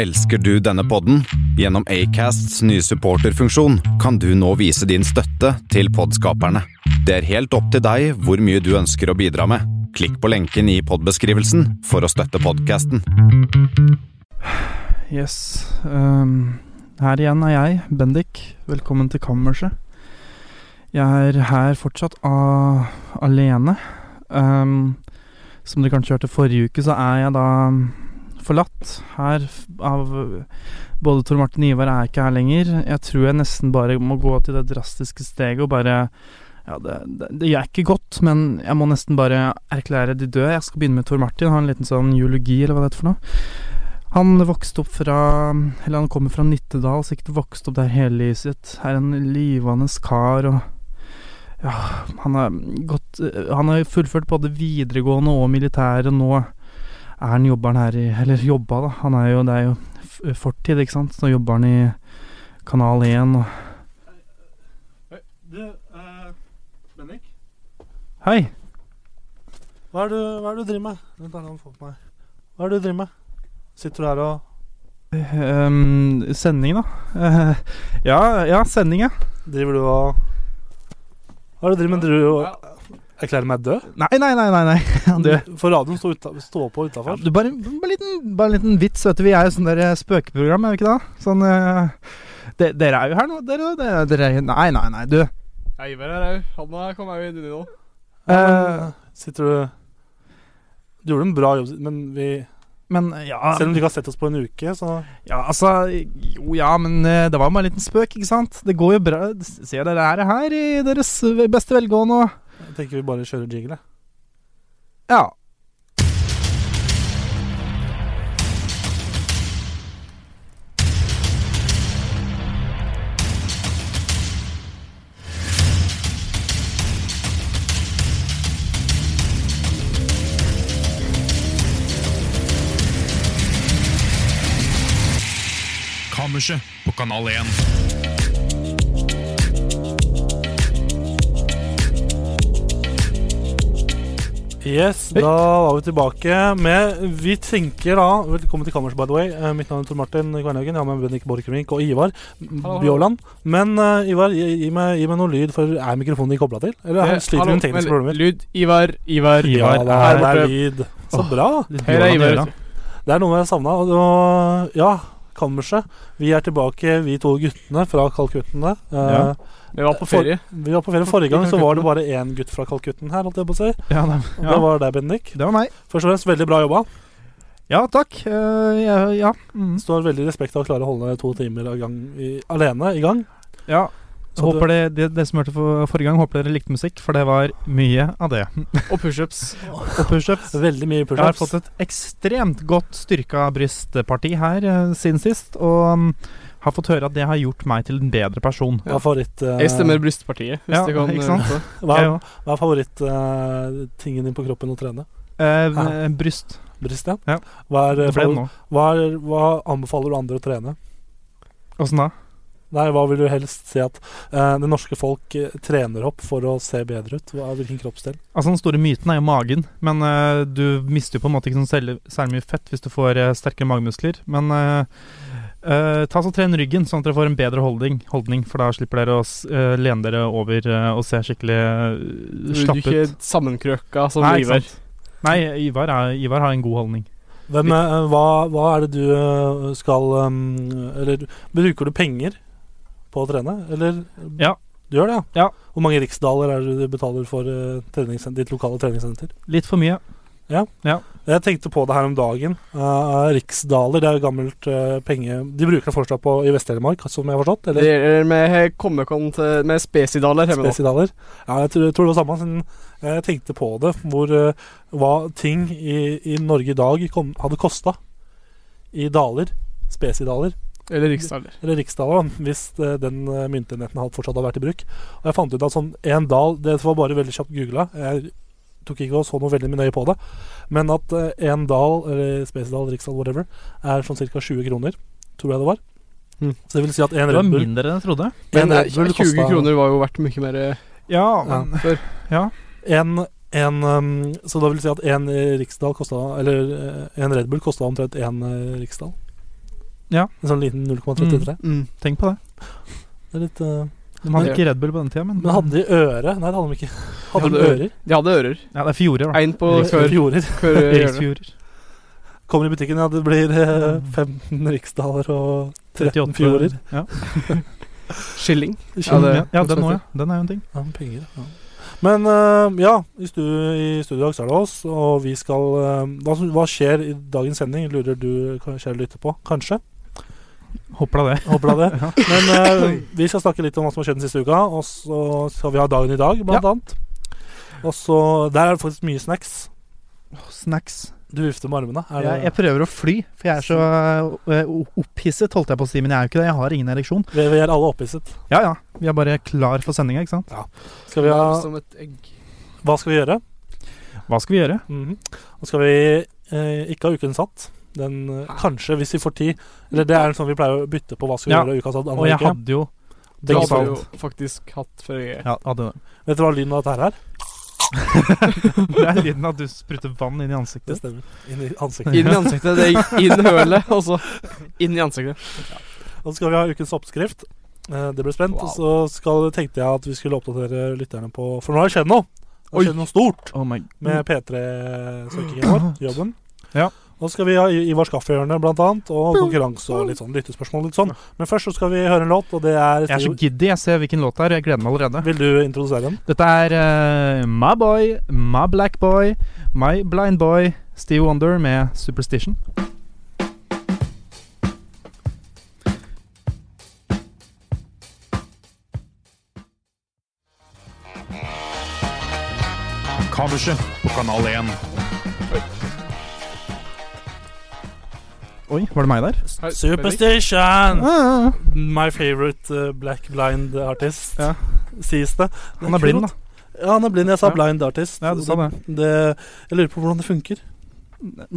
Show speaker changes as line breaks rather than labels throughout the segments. Elsker du denne podden? Gjennom Acasts nye supporterfunksjon kan du nå vise din støtte til podskaperne. Det er helt opp til deg hvor mye du ønsker å bidra med. Klikk på lenken i podbeskrivelsen for å støtte podkasten.
Yes. ehm, her igjen er jeg, Bendik. Velkommen til kammerset. Jeg er her fortsatt a alene. Ehm, som dere kanskje hørte forrige uke, så er jeg da mm, forlatt her f- av øh, både Tor Martin og Ivar er ikke her lenger. Jeg tror jeg nesten bare må gå til det drastiske steget og bare ja, det, det, det gjør ikke godt, men jeg må nesten bare erklære de døde. Jeg skal begynne med Tor Martin, ha en liten sånn geologi, eller hva det heter for noe. Han vokste opp fra Eller han kommer fra Nittedal, sikkert vokst opp der hele livet sitt. Er en livende kar og Ja, han har gått eh, Han har fullført både videregående og militæret. Nå er han jobberen her i Eller jobba, da. Han er jo Det er jo f- fortid, ikke sant. Nå jobber han i Kanal 1 og
Du, eh, Bendik?
Hei!
Hva er, du, hva er det du driver med? Vent, da, la meg få på meg. Hva er det du driver med? Sitter du her og
Um, sending, da. Eh, ja, ja, sending, ja.
Driver du og Hva er det du driver med? Driver du og Erklærer meg død?
Nei, nei, nei, nei. nei. Han dør.
For radioen står, uta, står på
Ja,
utafor.
du, bare, bare, en liten, bare en liten vits, vet du. Vi er jo sånn der eh, spøkeprogram, er vi ikke det? Sånn eh, de, Dere er jo her nå, dere. dere, dere er- nei, nei, nei, du.
Ja, Ivar er au. Han er- kom òg inn i det nå.
Eh,
Sitter du Du gjorde en bra jobb, men vi
men ja,
Selv om du ikke har sett oss på en uke, så
ja Altså, jo ja, men eh, det var jo bare en liten spøk, ikke sant? Det går jo bra. Se, dere er her i deres beste velgående og
jeg tenker vi bare kjører jingle. jeg.
Ja.
Kammerset på Kanal 1.
Yes,
Hei.
da var vi tilbake med Vi tenker da Velkommen til kammers, by the way. Eh, mitt navn er Tor Martin Kvernhaugen. Jeg har med Bendik Borchgrevink og Ivar
hallo.
Bjåland. Men eh, Ivar, gi, gi, meg, gi meg noe lyd, for er mikrofonen din kobla til? Eller
Det-
er, sliter
Eh, hallo,
vi med tekniske
men-
problemer?
Lyd. Ivar. Ivar.
Ja,
Ivar
det
er
er, det
borte.
er lyd. Så bra.
Her er Ivar.
Det er noe jeg savna. Og ja, kammerset. Vi er tilbake, vi to guttene fra Kalkuttene. Eh,
Ja.
Vi var på ferie.
Vi var på ferie forrige gang, så var det bare én gutt fra Kalkutten her, holdt jeg på å si.
Ja, det,
Og
ja,
det var deg, Bendik.
det var meg.
Først og fremst, veldig bra jobba.
Ja, takk. Eh, ja. ja. Mm.
Står veldig respekt av å klare å holde to timer av gang i, alene i gang.
ja.
Så
håper det, det, dere som hørte for, forrige gang, håper dere likte musikk, for det var mye av det.
Og pushups.
Og pushups.
Veldig mye
Jeg har
pushups.
fått et ekstremt godt styrka brystparti her eh, siden sist, og mm, har fått høre at det har gjort meg til en bedre person.
Hva er favoritt... eh,
Jeg stemmer brystpartiet. Hvis
Ja,
det kan
ikke sant?
eh,
Hva
Jeg
er,
òg.
hva er favoritt-tingen din på kroppen å trene?
Eh,
Ja.
Bryst.
Bryst,
Ja.
Hva, er,
Det
eh,
ble det
favor-
nå.
hva, er, hva anbefaler du andre å trene?
Åssen da?
Nei, hva vil du helst si at eh, det norske folk eh, trener opp for å se bedre ut? Hva, hvilken kroppsdel?
Altså, den store myten er jo magen, men eh, du mister jo på en måte ikke sånn særlig, særlig mye fett hvis du får eh, sterkere magemuskler. Men eh, eh, ta så tren ryggen, sånn at dere får en bedre holdning, holdning for da slipper dere å s- eh, lene dere over eh, og se skikkelig eh,
Du
slapp
ikke
ut.
sammenkrøka som
Nei, ikke
Ivar.
Nei, Ivar, er, Ivar har en god holdning.
Hvem, eh, hva, hva er det du eh, skal eh, Eller bruker du penger på å trene? Eller
Ja.
Du gjør det,
Ja.
Hvor mange riksdaler er det du betaler for eh, treningssen- ditt lokale treningssenter?
Litt for mye.
Jeg tenkte på det her om dagen. Eh, riksdaler, det er jo gammelt eh, penge De bruker det fortsatt på i Vest-Telemark, som jeg har forstått?
Det
Eller
er med kommekon til Med spesidaler hjemme nå.
spesidaler? Ja, jeg tror, jeg tror det var samme. Siden eh, jeg tenkte på det, hvor eh, hva ting i, i Norge i dag kom, hadde kosta i daler. Spesidaler.
Eller riksdaler.
eller riksdaler, da, hvis eh, den eh, myntenheten hadde fortsatt hadde vært i bruk. Og jeg fant ut at sånn en dal Det var bare veldig kjapt googla. Jeg tok ikke og så noe veldig nøye på det. Men at eh, en dal, eller spesidal, riksdal, whatever, er sånn ca. 20 kroner. Tror jeg det var.
Mm.
Så det vil si at en
Det var
Red Bull,
mindre enn jeg trodde.
en
Men eh,
Red Bull
20
kosta-
kroner var jo verdt mye mer eh,
Ja,
Ja.
men
før.
en, en, um, Så da vil si at en eh, riksdal kosta Eller eh, en Red Bull kosta omtrent en eh, riksdal.
Ja.
En sånn liten 0,33.
Mm.
Tenk på det.
Det er litt eh,
De hadde
Ja.
ikke Red Bull på den tida, men
Men hadde de øre? Nei, det hadde de ikke. Hadde de
hadde
ører?
De hadde ører.
Ja, det er fjorer, da.
Én på hver
Fjorer.
hjørne.
Riksfjorer.
Kommer i butikken, ja. Det blir eh, 15 riksdaler og 13
38
fjorer.
Ja,
Skilling.
Ja,
ja,
det-
ja den òg, ja. Den er jo en ting.
men penger, ja. Men eh, ja, i, stu, i studio i dag så er det oss, og vi skal eh, hva, som- hva skjer i dagens sending, lurer du kan- kjære lytter på? Kanskje?
Håper da det.
Håper da det. Men eh, vi skal snakke litt om hva som har skjedd den siste uka, og så skal vi ha dagen i dag, blant annet. Og så Der er det faktisk mye snacks.
Snacks.
Du vifter med armene. Er det,
Jeg, jeg prøver å fly, for jeg er så eh, o- opphisset, holdt jeg på å si. Men jeg er jo ikke det. Jeg har ingen ereksjon.
vi, vi er alle opphisset.
Ja ja, vi er bare klar for sendinga, ikke sant.
Skal vi ha,
Som et egg.
hva skal vi gjøre?
Hva skal vi gjøre?
Mhm. Og skal vi eh, ikke ha uken satt. Den, eh, kanskje, hvis vi får tid. Eller det er sånn vi pleier å bytte på hva skal vi
Ja.
gjøre uka satt.
Og
andre
jeg
uke.
hadde jo
Det
Begge
hadde
fall.
vi jo faktisk hatt før jeg
ja, hadde det.
Vet du hva lyden av dette her er?
Det er lyden av at du sprutter vann inn i
Det
ansiktet.
stemmer. Inn i ansiktet.
Inn i ansiktet. Det gikk inn i hølet, og så inn i ansiktet.
Og så skal vi ha ukens oppskrift. Eh, Det ble spent.
Wow.
Og så skal, tenkte jeg at vi skulle oppdatere lytterne på For nå har det skjedd noe! Det
Oi.
har skjedd noe stort
Oh my
med P3-søkingen vår. Jobben.
Ja.
Og så skal vi ha I- Ivars kaffehjørne, blant annet. Og konkurranse og litt sånn lyttespørsmål. Litt sånn. Men først så skal vi høre en låt, og det er
Jeg er så giddy. Jeg ser hvilken låt det er, og jeg gleder meg allerede.
Vil du introdusere den?
Dette er eh, My Boy, My Black Boy, My Blind Boy, Steve Wonder med Superstition.
Kammerset på Kanal 1.
Oi, var det meg der?
Hei,
Superstition!
Ah,
My favorite eh, black blind artist,
Ja.
sies det.
han er blind, da.
Ja, han er blind. Jeg sa
Ja.
blind artist.
Ja, du sa det.
det. Jeg lurer på hvordan det funker.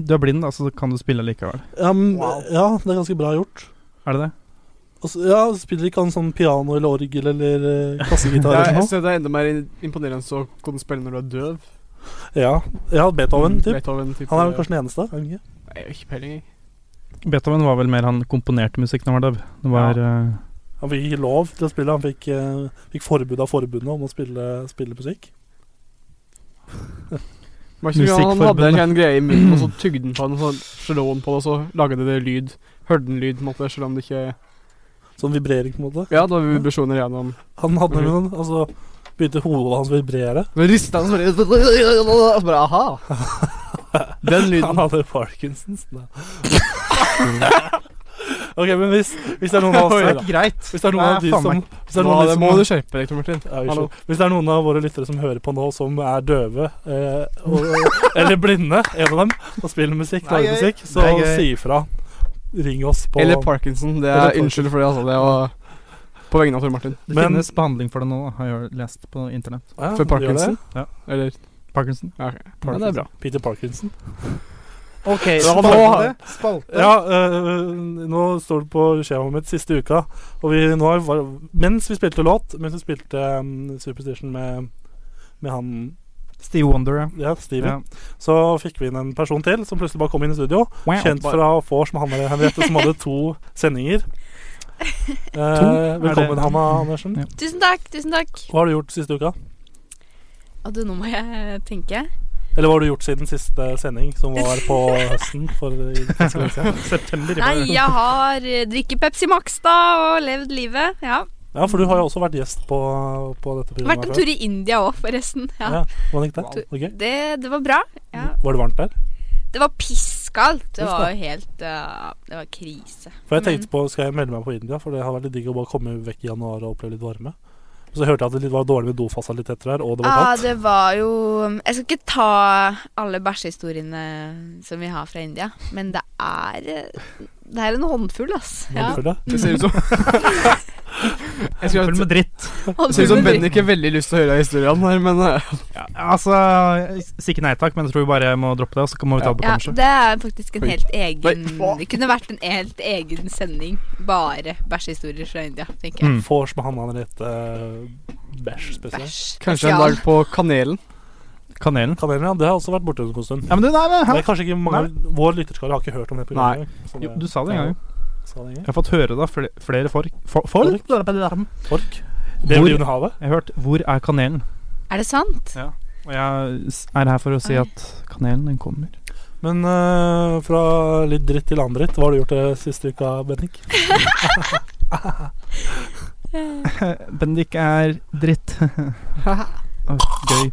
Du er blind, da, så kan du spille likevel.
Ja, men,
Wow.
ja, det er ganske bra gjort.
Er det det?
Altså, ja, Spiller ikke han sånn piano eller orgel eller eh, kassegitar?
Jeg
eller
jeg
noe?
synes det er enda mer in- imponerende så kan du spille når du er døv.
Ja, ja Beethoven, typ.
Beethoven-type.
Han er vel kanskje den eneste? er han ikke?
Nei, jeg har ikke peiling, jeg.
Beethoven var vel mer han komponerte musikk når han var døv. Det var eh,
Han fikk ikke lov til å spille, han fikk, eh, fikk forbud av forbundet om å spille, spille musikk.
Var ikke det Han hadde en
Musikkforbundet.
sånn greie i munnen, og så tygde han på den, og så slo han på det, og så lagde det lyd. Hørte den lyd, på en måte, selv om det ikke
Sånn vibrering, på en måte.
Ja, det var vibrasjoner gjennom
Han hadde
Mhm.
jo noen Altså, begynte hodet hans å vibrere.
Nå rista han så bare, og så bare aha. Den
Han
lyden.
hadde Parkinsons. Nei. ok, men hvis, hvis det er noen av oss
Oi, det
her,
er
da.
ikke greit.
Hvis det er noen
Nei,
av de
faen
som
meg.
Hvis det er
Nå
noen, av de
må du
som,
skjerpe deg, Tor Martin.
ja, vi
Hallo.
skjønner. hvis det er noen av våre lyttere som hører på nå, som er døve eh, og, eller blinde, en av dem, og spiller musikk,
Nei,
lager
gøy.
musikk, så
Nei, gøy.
si ifra. Ring oss på
Eller Parkinson. Det
Eller
er
Parkinson.
Unnskyld for det, altså. Det var på vegne av Tor Martin.
Det
Men-
finnes behandling for det nå, da, har jeg lest på internett.
Ja, gjør
For
det.
Parkinson.
Ja.
Eller
Parkinson.
ja, ok. Ja, det er bra.
Peter Parkinson.
OK,
spalte.
Ja, eh, nå står det på skjemaet mitt siste uka. Og vi, nå har, var, mens vi spilte låt, mens vi spilte um, Superstition med, med han
Steve Wonder, ja.
ja, Steven,
ja.
så fikk vi inn en person til som plutselig bare kom inn i studio. Kjent
Bare-
fra vors med Hanne Henriette, som hadde to sendinger. Eh,
Er
velkommen,
det-
Hanna Andersen.
Ja.
Tusen takk, tusen takk.
Hva har du gjort siste uka?
Og du, nå må jeg tenke.
Eller hva har du gjort siden siste sending, som var på høsten? For, i, for September.
Nei, jeg har eh, drikket Pepsi Max da og levd livet. Ja.
Ja, for du har jo også vært gjest på, på dette programmet.
Vært en
før.
tur i India òg, forresten. Ja.
Ja. Hvordan gikk det?
Wow.
Var det gøy?
Det, det var bra. Ja.
Var det varmt der?
Det var pisskaldt. Det
Uff da.
var jo helt eh, Det var krise.
For jeg tenkte på, skal jeg melde meg på India? For det har vært litt digg å bare komme vekk i januar og oppleve litt varme. Og så hørte jeg at det litt var dårlig med dofasiliteter her, og det var
Ja,
kaldt.
det var jo Jeg skal ikke ta alle bæsjehistoriene som vi har fra India, men det er eh, Det er en håndfull, ass. Ja.
Håndfull, ja.
Det ser ut som Jeg skulle
Full
hatt-
med dritt.
det ser ut
Håndfull
som
med
Bendik har veldig lyst til å høre historien her, men eh,
Ja, altså, si ikke nei takk, men jeg tror vi bare må droppe det, og så må vi ta det på
Ja,
kammerset.
det er faktisk en
Oi.
helt egen
Oi, hva?
Det kunne vært en helt egen sending. Bare bæsjehistorier fra India, tenker jeg.
Mm.
Vors med Hanna Henriette eh, Bæsj spesielt.
Bæsj.
kanskje en dag på Kanelen.
Kanelen.
Kanelen, ja. Det har også vært borte en god stund.
Ja, men du, nei, men,
Det
hæ?
er kanskje ikke mange Vår lytterskare har ikke hørt om det programmet. engang, så
Jo,
det-
du sa det en gang.
Sa det
Jeg
ingen?
har fått høre da flere, flere folk, fo- folk Jeg
Fork? Det
Hvor-
blir under havet?
har hørt 'Hvor er kanelen?'
Er det sant?
Og jeg s- er her for å si
Oi.
at kanelen, den kommer.
Men eh, fra litt dritt til annen dritt, hva har du gjort det siste uka, Bennik?
Bendik er dritt. Åh, Gøy.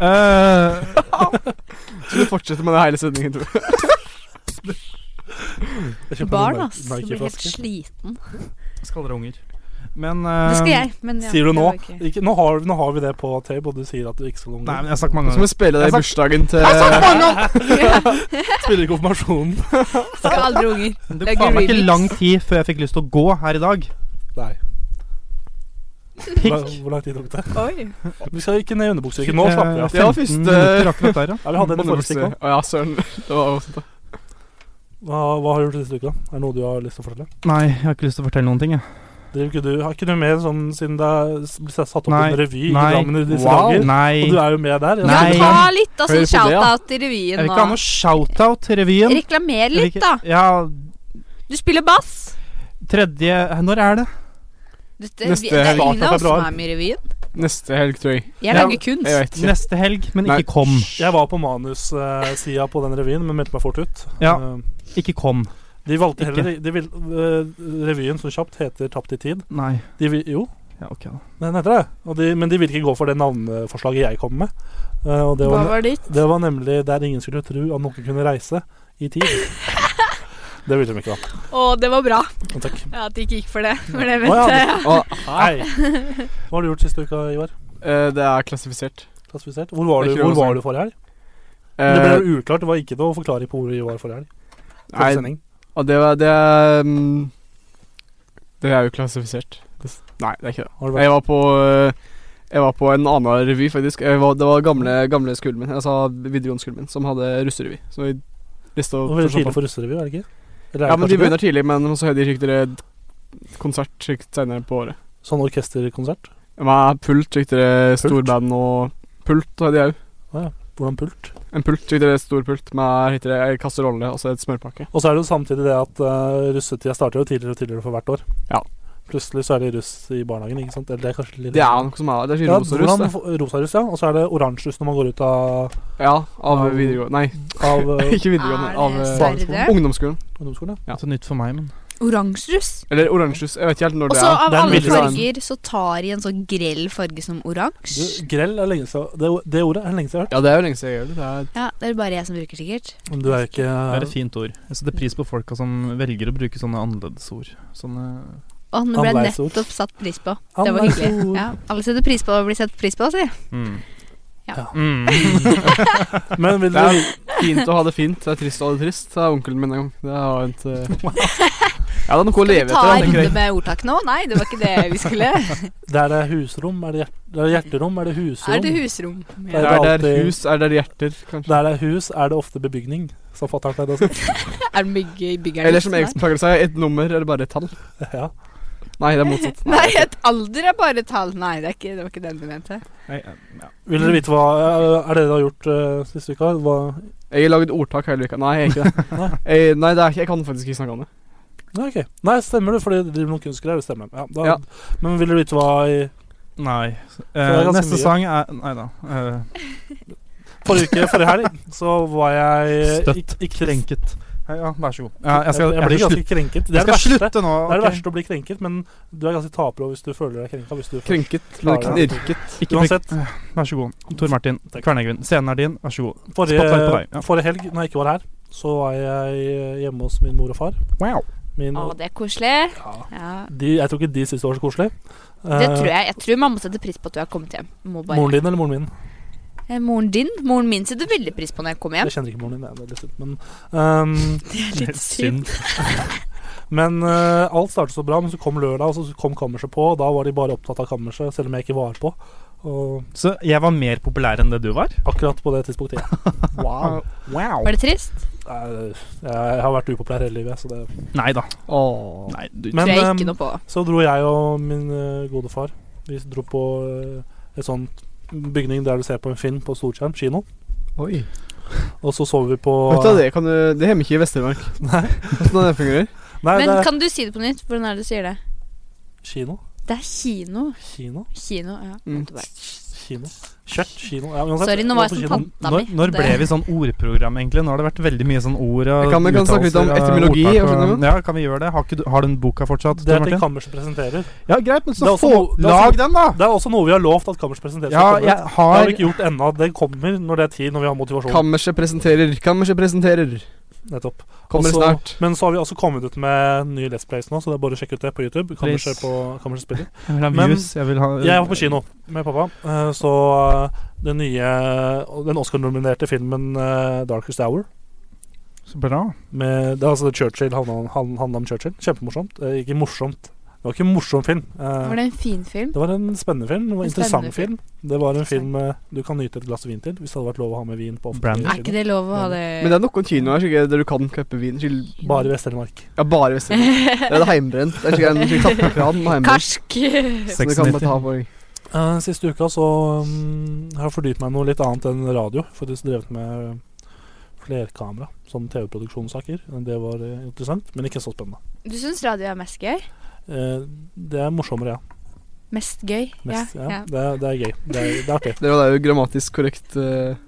Eh,
Skal du fortsette med det hele sendingen, tror jeg.
Jeg kjøpte
Barn,
en
ass. Du blir helt
Nike-flaske.
sliten.
skal dere unger. Men
Det
eh,
skal jeg, men ja,
Sier du
det
nå?
var ikke-
Ikke, nå, har, nå har vi det på tape, og du sier at du ikke skal unge.
Nei, men jeg har sagt mange
Så må
ganger.
vi spille det i
Jeg sa-
bursdagen til
Spiller i konfirmasjonen.
Skal aldri unger.
Men Det
Det er
faen meg ikke
remix.
lang tid før jeg fikk lyst til å gå her i dag.
Nei. Hvor,
Pikk.
hvor lang tid tok det?
Oi.
Vi skal ikke ned i underbukseyrken. Nå slapper vi av.
Det var første-
Eh, minutter akkurat der, ja.
Ja, vi hadde en forrige stikk også.
Å ja, søren. Det var også det.
Hva, hva har du gjort siste uka? Er det noe du har lyst til å fortelle?
Nei, jeg har ikke lyst til å fortelle noen ting, jeg.
Driver ikke du, Har ikke du med sånn siden det er s- blir satt opp
Nei.
en revy i
Nei.
Drammen i disse
Wow.
dager? Og du
Nei.
er jo med der.
Ja,
Nei.
ta litt
Hør på
av sånn
det, ja.
shout-out i
Jeg
revyen
vil ikke ha
nå.
noe shout-out til revyen.
Reklamer
Jeg vil
litt,
ikke-
da.
Ja,
Du spiller bass.
tredje Når er det?
Dette,
Neste
vi, det er
helg.
ingen av oss som
Februar.
er med i revyen.
Neste helg, tror jeg.
Jeg
Ja,
lager
Jeg
kunst.
vet ikke.
Neste helg, men
Nei.
ikke kom.
Jeg var på manussida på den revyen, men meldte meg fort ut.
Ja.
Eh,
Ikke kom.
De valgte
Ikke.
heller de vil, eh, Revyen som kjapt heter 'Tapt i tid'.
Nei.
De vil, jo,
Ja, ok, da.
den heter det. Og de, men de vil ikke gå for det navneforslaget jeg kom med. Eh, og det var,
Hva var ditt?
det var nemlig 'Der ingen skulle tro at noen kunne reise i tid'. Det ville de ikke, da.
Å, det var bra
Men Takk.
ja, at de ikke gikk for det. For det
Å, ja,
vet jeg.
Og,
Hei. Hva har du gjort siste uka, Ivar?
eh, det er klassifisert.
Klassifisert? Hvor var
Det er
du,
ikke
hvor
noe å
var
si.
du forrige helg?
Eh,
det ble jo uklart. Det var ikke noe forklaring på hvor vi var forrige helg.
nei,
Forrige sending.
og det var Det er mm, Det er jo klassifisert. Det, s- nei, det er ikke det.
Har du vært
Jeg var på eh, Jeg var på en annen revy, faktisk. Jeg var, det var gamle, gamle skolen min, altså videregående skolen min, som hadde russerevy. Så vi lista
Det var veldig tidlig for russerevy, er det ikke? Eller er
Ja,
det
men
kanskje
de
ikke det?
begynner tidlig, men så har de sikkert et konsert sikkert senere på året.
Sånn orkesterkonsert?
Med pult, sikkert storband og Pult hadde jeg òg.
Hvordan pult?
En pult, sikkert stor pult med heter det, en kasserolle og så et smørpakke.
Og så er det jo samtidig det at eh, russetida starter jo tidligere og tidligere for hvert år.
Ja.
Plutselig så er det russ i barnehagen, ikke sant? Eller det er kanskje litt
Det er noe som er Det er
ja,
sikkert roserus, det.
hvordan- Rosaruss, ja. Og så er det oransjeruss når man går ut av,
Ja, av
Av-
videregående Nei,
av eh,
ikke videregående.
Er
Av
det
eh,
sverre?
barneskolen. ungdomsskolen.
ungdomsskolen. Ja.
Ja.
Det er nytt for meg, men
Oransjerus.
Eller oransjerus. Jeg vet ikke helt når
Og
det
så
er.
av
det er
alle
veldig sånn-
farger så tar de en så grell farge som oransje.
Du, Grell er lenge siden det, det ordet er lenge siden jeg har hørt.
Ja, det er jo lenge siden jeg gjør det. det er,
Ja, det er bare jeg som bruker sikkert.
Men du er jo ikke eh,
det er et fint ord. Jeg setter pris på folka som velger å bruke sånne annerledesord. Sånne
Å, nå ble jeg
Annerledesord.
nettopp satt pris på. Det var hyggelig.
Annerledesord.
Ja, alle setter pris på å bli sett pris på, sier jeg.
mm.
Ja.
Mm.
Men vil
det
du
er fint å ha det fint. Det er trist å ha det trist. Det er onkelen min en gang. Det har jeg ikke eh. Ja, det er noe å leve
Ta
etter.
en
da, tenker
runde
jeg.
med ordtak nå? Nei, det var ikke det vi skulle.
Der det er husrom, er det, hjert, det er hjerterom, er det husrom?
Er det husrom?
er
Ja.
Er det
alltid-
hus? Er det hjerter, kanskje?
Der det er hus, er det ofte bebygning, som fatter'n pleide å si.
Er det mygge i byggeren?
Eller som jeg plager å si, et nummer eller bare et tall.
Ja.
Nei, det er motsatt.
Nei, et alder er bare et tall. Nei, det, er ikke, det var ikke den du mente.
Nei, eh, ja.
Vil dere vite hva Er det dere har gjort eh, siste uka? Hva,
Jeg har laget ordtak hele uka. Nei, jeg er ikke det. jeg, Eh, nei, det er ikke, jeg kan faktisk ikke snakke om det.
nei, ok. nei, stemmer det, fordi det driver noen kunstgreier. Det stemmer. Ja, da,
Ja.
Men vil dere vite hva i
Nei.
er
Eh,
ganske
neste
mye.
sang er Nei da. eh,
Forrige uke, forrige helg, så var jeg
Støtt.
ik- Ikke
krenket. Hei, ja, vær så god. Ja, jeg skal, jeg
blir
skal
ganske
slutte.
krenket. Det
Jeg
er
skal
det, verste.
slutte nå.
det er det
ok?
verste å bli krenket, men du er ganske taper hvis du føler deg krenka. Hvis du først
Krenket,
klarer det.
knirket.
Ikke bruk-
Uansett,
Vær så god. Tor Martin
Takk.
Kverneggrunn, scenen er din. Vær så god.
forrige,
Spotlight på deg, ja.
forrige helg, når jeg ikke var her, så var jeg hjemme hos min mor og far.
Wow.
Min,
Å, det er koselig.
ja,
Ja.
de, jeg tror ikke de syntes det var så koselig.
Det
Eh,
tror jeg. Jeg tror mamma setter pris på at du har kommet hjem. Må bare.
Moren din eller moren min?
Eh, Moren din? Moren min setter veldig pris på når jeg kommer hjem.
Jeg kjenner ikke moren din, det er litt synd. Men, ehm,
Litt synd.
men eh, alt startet så bra, men så kom lørdag, og så kom kammerset på. Og da var de bare opptatt av kammerset, selv om jeg ikke var på. Og
Så jeg var mer populær enn det du var?
akkurat på det tidspunktet. ja.
Wow. wow.
Var det trist?
Eh, Jeg har vært upopulær hele livet. Så, det.
Nei da.
Åh.
Nei, du,
Men,
tror jeg
ehm,
ikke noe på.
så dro jeg og min eh, gode far Vi dro på eh, et sånt bygning der du ser på en film på storskjerm, kino.
Oi.
Og så så vi på
Vet du hva det kan du Det har vi ikke i Vest-Telemark.
Nei.
Hvordan det fungerer?
Nei,
Men
det er
kan du si det på nytt? Hvordan er det du sier det?
kino.
Det er kino.
Kino.
Kino, ja.
Mm.
Måtte bare-
Kino. Kjørt. Kino. Ja, uansett,
Sorry, nå var jeg
på
som
kino.
tanta mi.
Når, når ble vi sånn ordprogram, egentlig? Nå har det vært veldig mye sånn ord og
Vi kan- vi kan snakke litt om
uttalelser og
etymologi
ordtak
og sånne ting.
ja, kan vi gjøre det? Har, ikke, du- har du den boka fortsatt?
Det
Tor
er det
Martin?
Kammerset presenterer.
Ja, greit, men
Det er
så
også
få
noe- det er også
Lag den, da!
Det er også noe vi har lovt at Kammerset presenterer. skal
Ja,
komme ut.
jeg
Det har
har
vi ikke gjort ennå. Det kommer når det er tid, når vi har motivasjon.
Kammerset presenterer, kammerset presenterer.
Nettopp.
Kommer
Også-
snart.
Men så har vi også kommet ut med nye Let's Plays nå, så det er bare å sjekke ut det på YouTube. Kammerset
Please.
på Kammerset spiller.
Jeg vil ha
Men-
views. Jeg vil ha
Jeg var på kino med pappa, eh, så eh, den nye Den Oscar-nominerte filmen eh, 'Darkest Hour'
Så bra.
med, Det er altså Churchill handla om, han- handla om Churchill. Kjempemorsomt. Eh, Ikke morsomt. Det var ikke en morsom film. Eh,
Var det en fin film?
Det var en spennende film. Det var en
En
interessant
spennende
film. Det var en film eh, du kan nyte et glass vin til, hvis det hadde vært lov å ha med vin på offentlig
Brandy.
Er ikke
kino.
det lov å ha
Men det
det
er noen kinoer sikkert, der du kan køppe vin. Skikkelig-
Bare i Vest-Telemark.
Ja, bare hvis det det er det heimbrent. Det er sikkert en skikkelig tappekran med heimbrent.
Karsk!
Så du kan bare ta på deg.
Eh, siste uka så mm, har jeg fordypet meg i noe litt annet enn radio. For jeg har drevet med flerkamera, sånn TV-produksjonssaker. Det var eh, interessant, men ikke så spennende.
Du syns radio er mest gøy?
Eh, det er morsommere, ja.
Mest gøy?
Mest, ja.
ja, ja.
Det, er- det er gøy. Det er, det er artig.
Det var jo grammatisk korrekt. eh,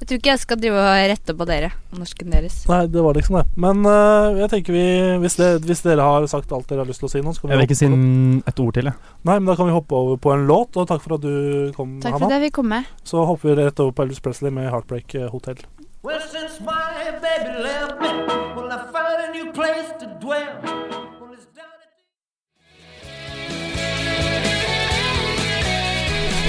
Jeg tror ikke jeg skal drive og rette på dere og norsken deres.
Nei, det var liksom det. Men eh, jeg tenker vi hvis, det, hvis dere har sagt alt dere har lyst til å si nå, så kan vi
Jeg vil ikke si
hoppe-
n- et ord til, jeg.
Nei, men da kan vi hoppe over på en låt. Og takk for at du kom,
Takk for
Hanna.
at jeg fikk komme.
Så hopper vi rett over på Elvis Presley med Heartbreak eh, Hotel.
Well, since my baby left me, well, I found a new place to dwell. Well, it's down at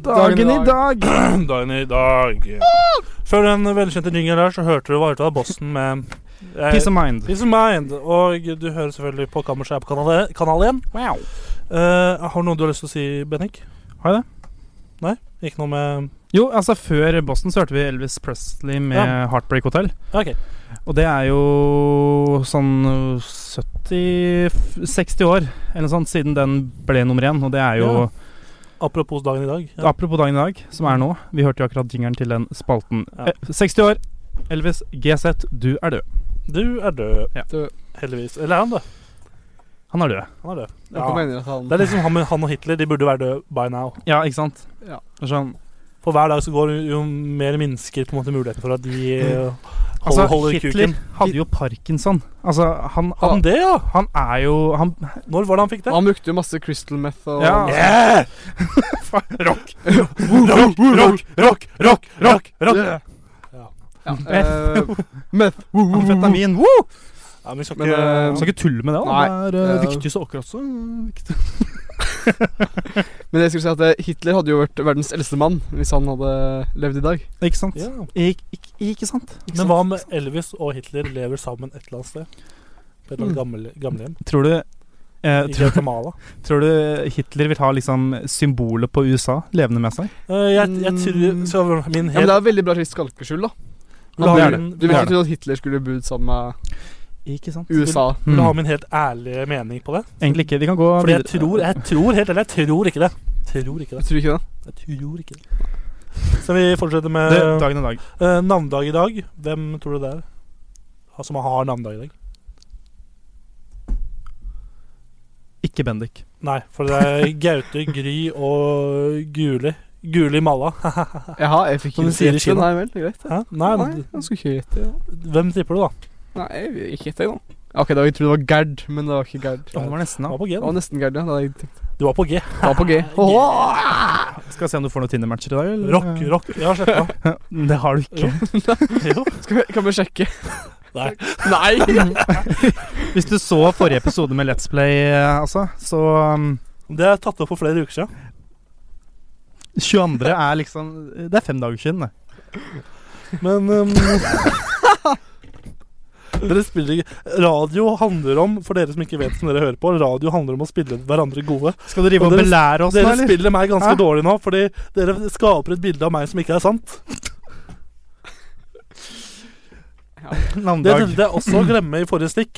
Dagen i dag!
Dagen i dag. Før den velkjente jingeren der, så hørte du hva hørte du av Boston med eh,
Peace of mind.
Peace of Mind. Og du hører selvfølgelig på Kammerset her på kanal, kanal 1.
Wow.
Eh, har du noe du har lyst til å si, Bennik?
Har jeg det?
Ikke noe med
Jo, altså før Boston så hørte vi Elvis Presley med
Ja.
Heartbreak Hotel.
Ja, OK.
Og det er jo sånn 70 60 år eller noe sånt siden den ble nummer én. Og det er jo
Apropos dagen i dag. Ja.
Apropos dagen i dag, som er nå. Vi hørte jo akkurat jingeren til den spalten.
Ja.
Eh, 60 år. Elvis GZ, du er død.
Du er død.
Ja.
Død.
Heldigvis. Eller er han død?
Han er død.
Han er død.
Noen mener at han
Det er liksom han, med- han og Hitler. De burde være døde by now.
Ja, ikke sant?
Ja.
Sånn.
For hver dag så går jo mer mennesker på en måte muligheten for at de eh, holder,
Altså,
holder
Hitler
kuken.
hadde jo parkinson. Altså, han,
Hadde han
han,
det, ja?
han er jo Han
Når var det han fikk det?
Han brukte jo masse crystal meth og
Ja.
Yeah! rock. rock, rock, rock, rock, rock, rock.
Ja, eh, meth.
Amfetamin. Woo!
Ja, men vi skal
Men,
ikke
eh,
Skal ikke tulle med det, da.
Nei.
det er eh,
Ja.
viktig så akkurat så viktig.
Men jeg skulle si at eh, Hitler hadde jo vært verdens eldste mann hvis han hadde levd i dag.
Ikke sant?
ja.
Ik ik ikke sant?
Men hva om Elvis og Hitler lever sammen et eller annet sted? På et eller annet gammel- gamlehjem?
Tror du eh,
I
tror,
Guatemala?
tror du Hitler vil ha liksom symbolet på USA levende med seg?
Eh, Jeg, jeg tror så Min
Ja, men
helt
det er veldig bra slik skalkeskjul, da.
vil du ha
det er
min- vil
Du ville
du ha-
ikke trodd at Hitler skulle bodd sammen med
Ikke sant?
USA.
vil du ha
Mm.
min helt ærlige mening på det?
Egentlig ikke. Vi kan gå
Fordi jeg
videre.
tror, jeg tror helt ærlig, jeg tror ikke det. Tror ikke det.
Jeg tror ikke det.
Jeg tror ikke det. Så vi fortsetter med
Det, dagen i dag.
eh, navnedag i dag. Hvem tror du det er? Ha- Som har navnedag i dag?
Ikke Bendik.
Nei, for det er Gaute, Gry og Guli. Guli Malla.
Jaha, jeg fikk
Som de
ikke
sier i
rett,
Kina.
Nei vel, greit.
Hæ? Nei,
Nei,
men
jeg skulle ikke gjette. ja.
hvem tipper du, da?
Nei, jeg vil ikke gjette, jeg, da. Ok, da jeg trodde det var Gerd, men det var ikke Gerd.
Ja, det var nesten
Du
da.
var på G.
Det
da.
var nesten Gerd, ja. Da hadde jeg tenkt.
Du var på G.
Det var på G. Åh!
Skal vi se om du får noen Tinder-matcher i dag? eller? Eh,
Rock, rock. Jeg har sletta.
Det har du ikke.
Jo.
Skal vi, kan vi sjekke?
Nei.
Nei!
Hvis du så forrige episode med Let's Play, eh, altså, så um,
Det er tatt opp for flere uker siden.
22. er liksom Det er fem dager siden, det.
Men um, Dere spiller ikke Radio handler om, for dere som ikke vet som dere hører på, radio handler om å spille hverandre gode.
Skal du rive
Og
og
dere-
belære oss nå,
Dere
eller?
spiller meg ganske
Hæ?
dårlig nå, fordi dere skaper et bilde av meg som ikke er sant. Det
Navnedag.
nevnte jeg også å glemme i forrige stikk.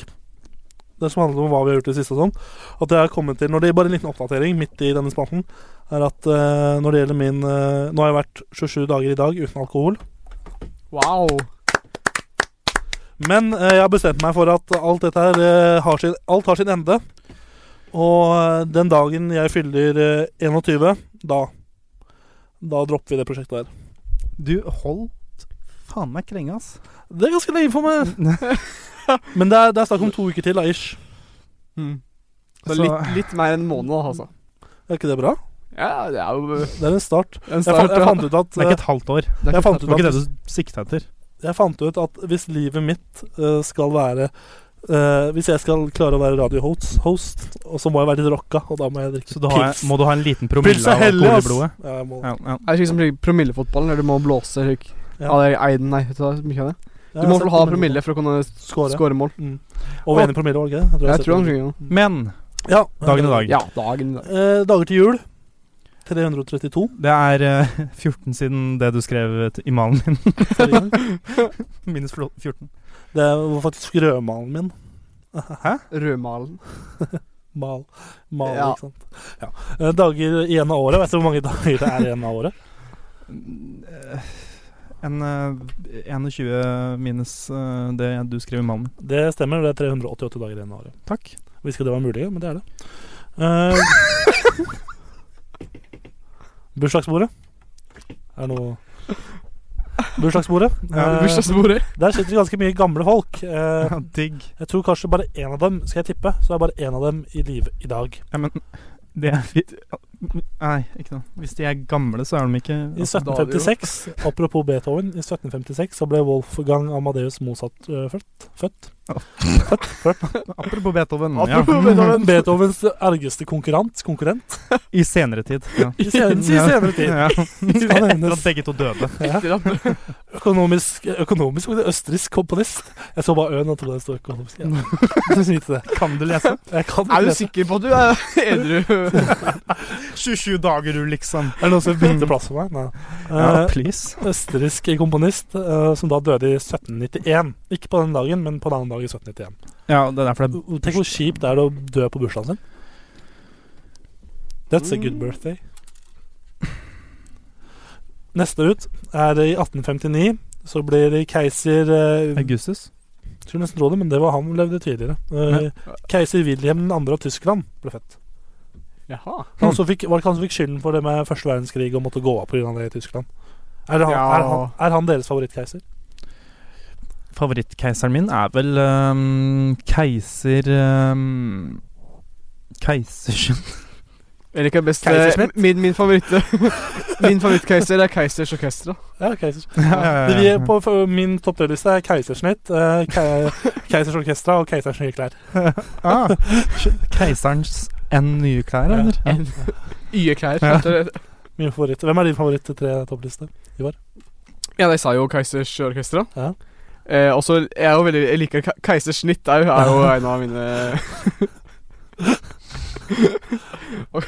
Det som handler om hva vi har gjort i det siste og sånn. At jeg har kommet til, når det Bare en liten oppdatering midt i denne spalten. Er at eh, når det gjelder min eh, Nå har jeg vært 27 dager i dag uten alkohol.
Wow.
Men eh, jeg har bestemt meg for at alt dette her eh, har sin, alt har sin ende. Og eh, den dagen jeg fyller eh, 21, da Da dropper vi det prosjektet her.
Du holdt faen meg krenge, ass.
Det er ganske lenge for meg. Men det er, det er snakk om to uker til, da, ish.
Hmm. Så
Så-
litt, litt mer enn en måned, altså.
Er ikke det bra?
Ja, det er jo
Det er en start.
en
Jeg, fant-
start.
jeg,
ja.
fant ut at,
Det er ikke et halvt år.
Det er
jeg
ikke-
fant
Det
ut
var
at,
ikke det du sikta etter.
jeg fant ut at hvis livet mitt eh, skal være eh, Hvis jeg skal klare å være radiohost, host, og så må jeg være litt rocka, og da må jeg drikke
Så du har,
pils.
må du ha en liten
Pils
promille
er
av
hellig,
alkohol i
ass!
blodet?
Ja, jeg må,
Ja, ja.
Det er slik som slik promillefotballen, der du må blåse slik.
Ja.
Ja. det er eiden, nei, vet du hva, mye av det. Du
Jeg
må
har sett
vel ha
promille.
promille for å kunne
Skåre.
skåre mål.
Mm. Over en i promille, var det ikke det?
Jeg tror han
det.
skynger noe.
Men
Ja.
dagen i dag.
Ja, dagen i dag.
Eh, dager til jul. 332.
Det er eh, 14 siden det du skrev til- i malen min.
forrige gang.
Minus flo- 14.
Det var faktisk rødmalen min.
Rødmalen.
Mal, mal
Ja.
ikke sant. Ja. Eh, Dager igjen av året. Vet du hvor mange dager det er igjen av året?
Eh, En eh, 21 minus eh, det du skrev i malen.
Det stemmer, det er 388 dager igjen av året.
Takk.
Hvis ikke det var mulig, men det er det. Eh, bursdagsbordet. Er det noe Bursdagsbordet.
Ja,
Eh,
Bursdagsbordet.
der sitter det ganske mye gamle folk. Eh,
Ja, digg.
Jeg tror kanskje bare én av dem skal jeg tippe, så er bare én av dem i live i dag.
Ja, men det er fint. Nei, ikke noe. Hvis de er gamle, så er de ikke
I 1756, apropos Beethoven, i 1756 så ble Wolfgang Amadeus Mozart øh, født. født.
Apropos Beethoven.
Apropos
Mm, ja.
Beethoven.
Beethovens ergeste konkurrent. konkurrent.
I senere tid. Ja.
I senere, i senere tid.
Ja.
Skal
Etter
nevnes
at begge to døde.
Etter at
økonomisk, økonomisk og østerriksk komponist. Jeg så bare øen og trodde det sto økonomisk. Ja. Du skal vite det.
Kan du lese?
Jeg kan ikke
Er du
lese.
sikker på at du er edru?
27 dager, du, liksom.
Er det noen som bytter plass for meg? Nei.
Ja,
Eh,
please.
østerriksk komponist eh, som da døde i 1791. Ikke på den dagen, men på en annen dag i 1791.
Ja, det er derfor det
Tenk hvor kjipt er det å dø på bursdagen sin. That's a good birthday. Neste ut er i 1859. Så blir keiser eh,
er Augustus.
Skulle nesten tro det, men det var han som levde tidligere. Eh, Keiser Wilhelm 2. av Tyskland ble født.
Jaha.
Han som fikk, var det ikke han som fikk skylden for det med første verdenskrig og måtte gå av pga. det i Tyskland? Er, det han,
Ja.
er, han, er han deres favorittkeiser?
Favorittkeiseren min er vel ehm, keiser um, Keisersen
Eller ikke best eh,
Keisersnitt?
Min, min favoritt Min favorittkeiser er Keisers Orkestra.
Ja, keisers.
Eh.
ja, ja.
Det vi er på for min toppdeliste er keisersnitt, eh, ke keisers orkestra og keisers nye klær.
ah, Keiserens enn nye klær,
Ja.
eller? Ja.
Y-klær.
Ja.
Min favoritt. Hvem er din favoritt til tre toppliste?
Ja, de sa jo Keisers Orkestra.
Ja.
Eh, også, jeg er jo veldig Jeg liker Ke- Keisers Snitt. Er jo, er jo en av mine og,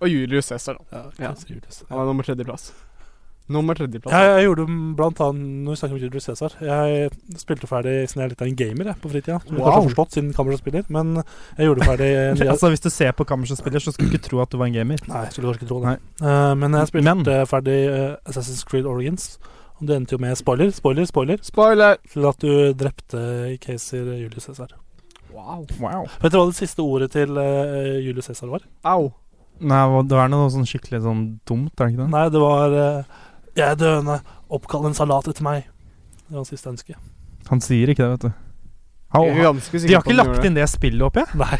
og Julius Cæsar, da.
Ja,
Ja.
Keiser Julius.
Han er nummer tredjeplass. Nummer tredjeplass.
Jeg, jeg gjorde blant annet når vi snakker om Julius Cæsar Jeg spilte ferdig siden jeg er litt av en gamer jeg, på fritida. Som du
Wow.
kanskje har forstått siden Kammerset spiller, men jeg gjorde ferdig
Altså, hvis du ser på Kammerset spiller, så skulle du ikke tro at du var en gamer.
Nei, jeg skulle kanskje ikke tro det. Eh, men jeg spilte
Men-
ferdig eh, Assassin's Creed Origins. Og det endte jo med spoiler, spoiler, spoiler,
Spoiler!
til at du drepte keiser Julius Cæsar.
Wow.
Wow.
Vet du hva det siste ordet til eh, Julius Cæsar var?
Au.
Nei, hva- det er noe sånn skikkelig sånn dumt, er det ikke det?
Nei, det var eh, 'Jeg er døende, oppkall en salat etter meg'. Det var hans siste ønske.
Han sier ikke det, vet du. Au,
Jeg er ganske sikker
de har
på at
ikke
gjorde
lagt
det.
inn det spillet opp, jeg.
Nei.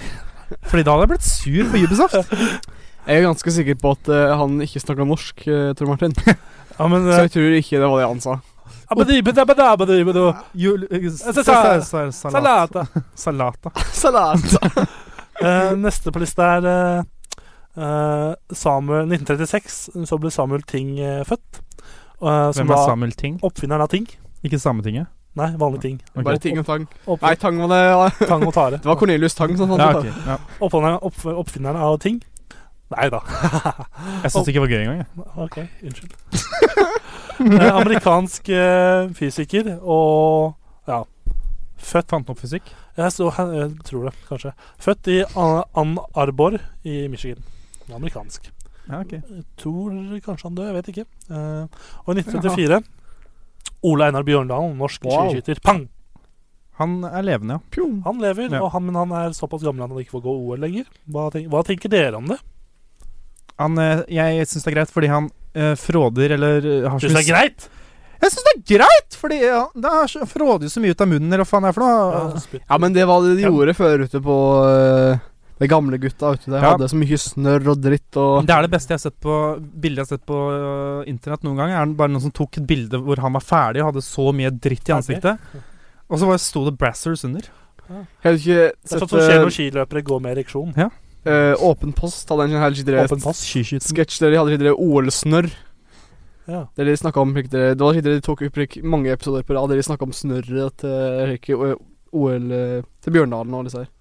Fordi da hadde jeg blitt sur på Ubisoft.
Jeg er ganske sikker på at eh, han ikke snakka norsk, eh, Tor Martin.
Ja, men,
Så
eh,
jeg tror ikke det var det han sa.
abadibi, dabada, abadibi, do,
Jul,
sa- sa-
salat.
salata.
Salata.
Salat!
Eh, neste på lista er eh, eh, Samuel 1936. Så ble Samuel Ting eh, født. Eh, som
Hvem er
da
Samuel Ting?
oppfinneren av Ting.
Ikke Sametinget?
Nei, vanlige ting.
Ok.
Bare ting og tang.
Opp,
Nei, tang var det
tang og tare.
Det var Cornelius Tang som fant
Ja,
ut av
ok.
det.
Ja.
Oppfinneren, opp, oppfinneren av ting? Nei da.
Jeg syns ikke det var gøy engang. jeg.
Ok, unnskyld. Eh, amerikansk eh, fysiker og ja. Født
Fant den opp fysikk.
jeg, så, jeg tror det, kanskje. Født i An- Ann Arbor i Michigan. Han er Amerikansk.
Ja, ok.
Jeg tror kanskje han døde, jeg vet ikke. Eh, og i 1974 Ole Einar Bjørndalen, norsk
Wow.
skiskytter. Pang!
Han er levende, ja.
Pjong.
Han lever,
Ja.
og han, men han er såpass gammel at han ikke får gå OL lenger. Hva, tenk, hva tenker dere om det?
Han, eh, jeg syns det er greit fordi han eh, fråder eller eh, har
Syns det er
mye-
greit?
Jeg syns det er greit! Fordi ja, det er så, fråder jo så mye ut av munnen, eller hva faen det er for
Ja,
noe.
han spytt.
Ja, men det var det de
Ja.
gjorde før ute på eh, De gamle gutta ute der
Ja.
hadde så mye snørr og dritt og
Det er det beste jeg har sett på bildet jeg har sett på øh, internett noen gang. Er den bare noen som tok et bilde hvor han var ferdig og hadde så mye dritt i ansiktet. Og så bare sto det 'Brassers' under.
Jeg hadde ikke
Det er
sett
sånn som skjer
eh,
når skiløpere går med ereksjon.
eh, Åpen post hadde en sånn her skikkelig
Åpen post.
sketsj der de hadde skikkelig OL-snørr.
Ja.
Der de snakket om slik dere- Det var slik dere tok opp slik mange episoder på rad der de snakka om snørret til slik, eh, OL eh, til Bjørndalen og alle disse her.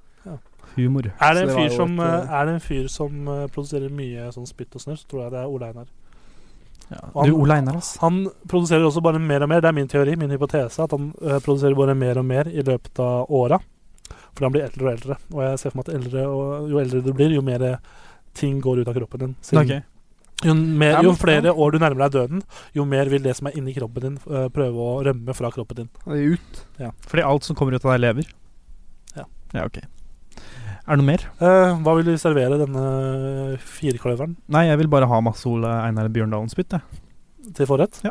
Humor.
Er det,
Så
en
det var
fyr
jo
som,
et,
eh, er det en fyr som eh, produserer mye sånn spytt og snørr, så tror jeg det er Ole Einar.
Du, Ole Einar, ass.
Han produserer også bare mer og mer. Det er min teori, min hypotese, at han eh, produserer bare mer og mer i løpet av åra. Fordi han blir eldre og eldre. Og jeg ser for meg at eldre, og, jo eldre du blir, jo mer eh, ting går ut av kroppen din. Siden-
Ok.
jo, mer,
Ja,
jo
men-
flere år du nærmer deg døden, jo mer vil det som er inni kroppen din, eh, prøve å rømme fra kroppen din.
Ja, de er ut.
Fordi alt som kommer ut av deg, lever.
Ja.
Ja, ok. Er det noe mer?
Eh, hva vil du servere denne eh, firkløveren
Nei, jeg vil bare ha masse Ole Einar Bjørndalen-spytt, jeg.
til forrett?
Ja.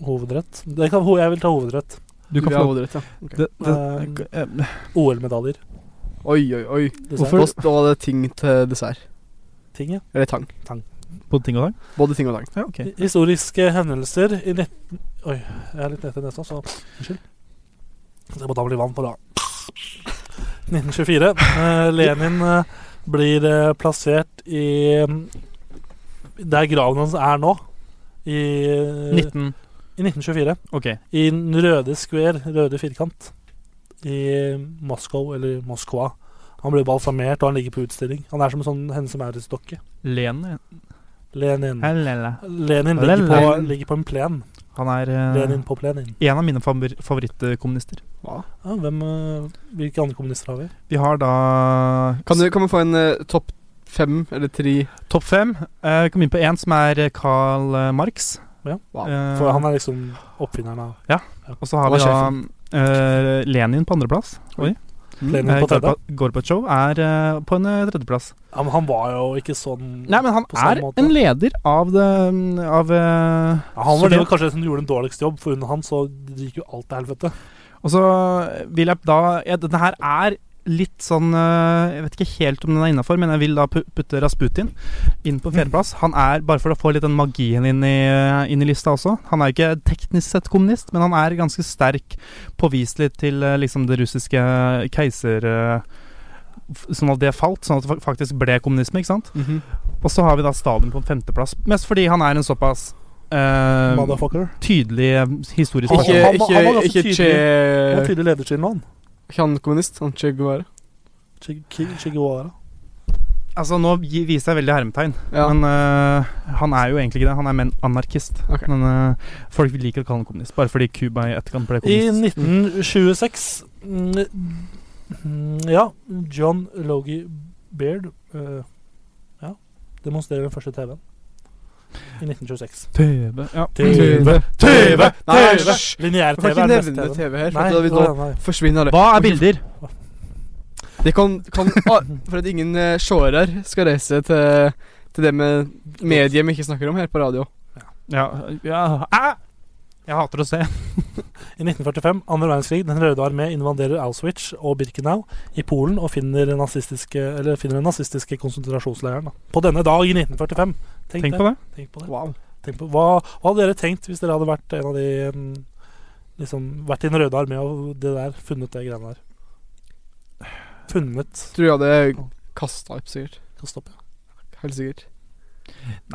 Hovedrett? Det kan, ho- jeg vil ta hovedrett.
Du kan
vil ha
få
hovedrett, ja. Ok.
det, det, eh,
OL-medaljer.
Oi, oi, oi.
Dessert.
Da da var det ting til dessert.
Ting, ja.
Eller tang.
På ting og tang?
Både ting og tang.
Ja,
Eh,
ok.
Historiske hendelser i 19... Oi, jeg er litt nett i nesa, så unnskyld. Så jeg må ta meg litt vann på da. 1924. Eh, Lenin eh, blir eh, plassert i mm, Der graven hans er nå. I,
19
I 1924.
Ok.
I den røde square, røde firkant, i Moskva, eller Moskva. Han ble balsamert, og han ligger på utstilling. Han er som en sånn henne som æresdokke.
Lene.
Lenin.
Helele.
Lenin ligger på,
Lenin.
ligger på en plen.
Han er eh,
Lenin på plenen.
en av mine favor- favorittkommunister.
Ja, hvem, eh, hvilke andre kommunister har vi?
Vi har da
Kan, du, kan vi få en eh, topp fem eller tre
Topp fem. Eh, Vi kom inn på én som er eh, Karl eh, Marx.
Ja.
Wow.
Eh,
For han er liksom oppfinneren av
og så har
han
vi
er
da eh, Lenin på andreplass. Oi.
Mm.
plenen
Eh,
på tredje.
Gorba- Gorbatsjov er eh, på en eh, tredjeplass.
Ja, men han var jo ikke sånn
Nei, men han
På samme
er
måte.
en leder av det mm, Av eh,
ja, Han var det
Sovjet.
kanskje den som gjorde den dårligste jobb, for under han så gikk jo alt til helvete.
Og så vil jeg da ja, Denne her er litt sånn eh, Jeg vet ikke helt om den er innafor, men jeg vil da pu- putte Rasputin inn på fjerdeplass. Han er, bare for å få litt den magien inn i, eh, inn i lista også Han er jo ikke teknisk sett kommunist, men han er ganske sterk påviselig til eh, liksom det russiske keiser... eh, f- Sånn at det falt, sånn at det fa- faktisk ble kommunisme. ikke sant?
Mhm.
Og så har vi da Stalin på femteplass. Mest fordi han er en såpass eh,
Motherfucker.
tydelig eh, historisk
Ikke,
person.
han-
ikke,
han var ganske
ikke
tydelig. Han var
Che
tydelig lederstil nå, han.
Ikke han kommunist, han Che Guevara.
Che- Che- Che Guevara.
Altså, nå gi- viser jeg veldig hermetegn.
Ja.
Men øh, han er jo egentlig ikke det. Han er men anarkist.
Ok.
Men øh, folk liker å kalle han kommunist, bare fordi Cuba i etterkant ble
I
Mm.
kommunist.
1926 mm, mm, Ja, John Logie Baird eh, ja, demonstrerer den første TV-en. I 1926.
TV. Ja.
TV.
TV! Nei,
TV.
hysj! Du
Lineær-TV
får
er
ikke
den beste
nevne
TV-en.
TV her.
Nei,
For da vil
nei,
da
nei.
forsvinner alle.
Hva er bilder?
Det kan, kan ah, For at ingen eh, seere her skal reise til, til det med mediet vi ikke snakker om her på radio.
Ja, ja. Æ! Jeg hater å se.
I 1945, andre verdenskrig, Den røde armé invaderer Auschwitz og Birkenau i Polen og finner, den nazistiske, eller finner den nazistiske konsentrasjonsleiren. da. På denne dag i 1945. Tenk,
Tenk
det.
på det.
Tenk på det.
Wow.
Tenk på, hva, hva hadde dere tenkt hvis dere hadde vært en av de mm, liksom, Vært i Den røde armé og det der, funnet det greiene der? Funnet
Tror jeg hadde kasta opp, sikkert.
Skal stoppe.
Helt sikkert.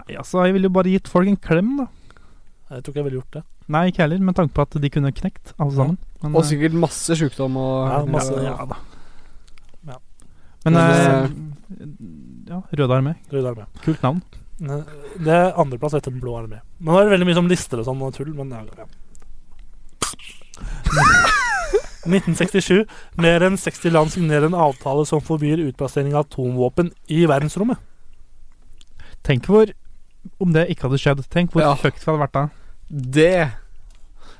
Nei, altså, jeg ville jo bare gitt folk en klem, da.
Jeg tror ikke jeg ville gjort det.
Nei, ikke jeg heller, med tanke på at de kunne knekt, alle sammen. Men,
Og
eh,
sikkert masse sjukdom og
Ja, masse,
ja.
ja da.
men
Men,
eh, ja, Røde armé.
Rød armé.
Kult navn.
Ne- Det er andreplass etter Den blå armé. Men nå er det veldig mye som lister og sånn og tull, men ja, ja. 1967. Mer enn 60 land signerer en avtale som forbyr utplassering av atomvåpen i verdensrommet.
Tenk hvor om det ikke hadde skjedd. Tenk hvor
Ja.
fucked vi hadde vært da.
Det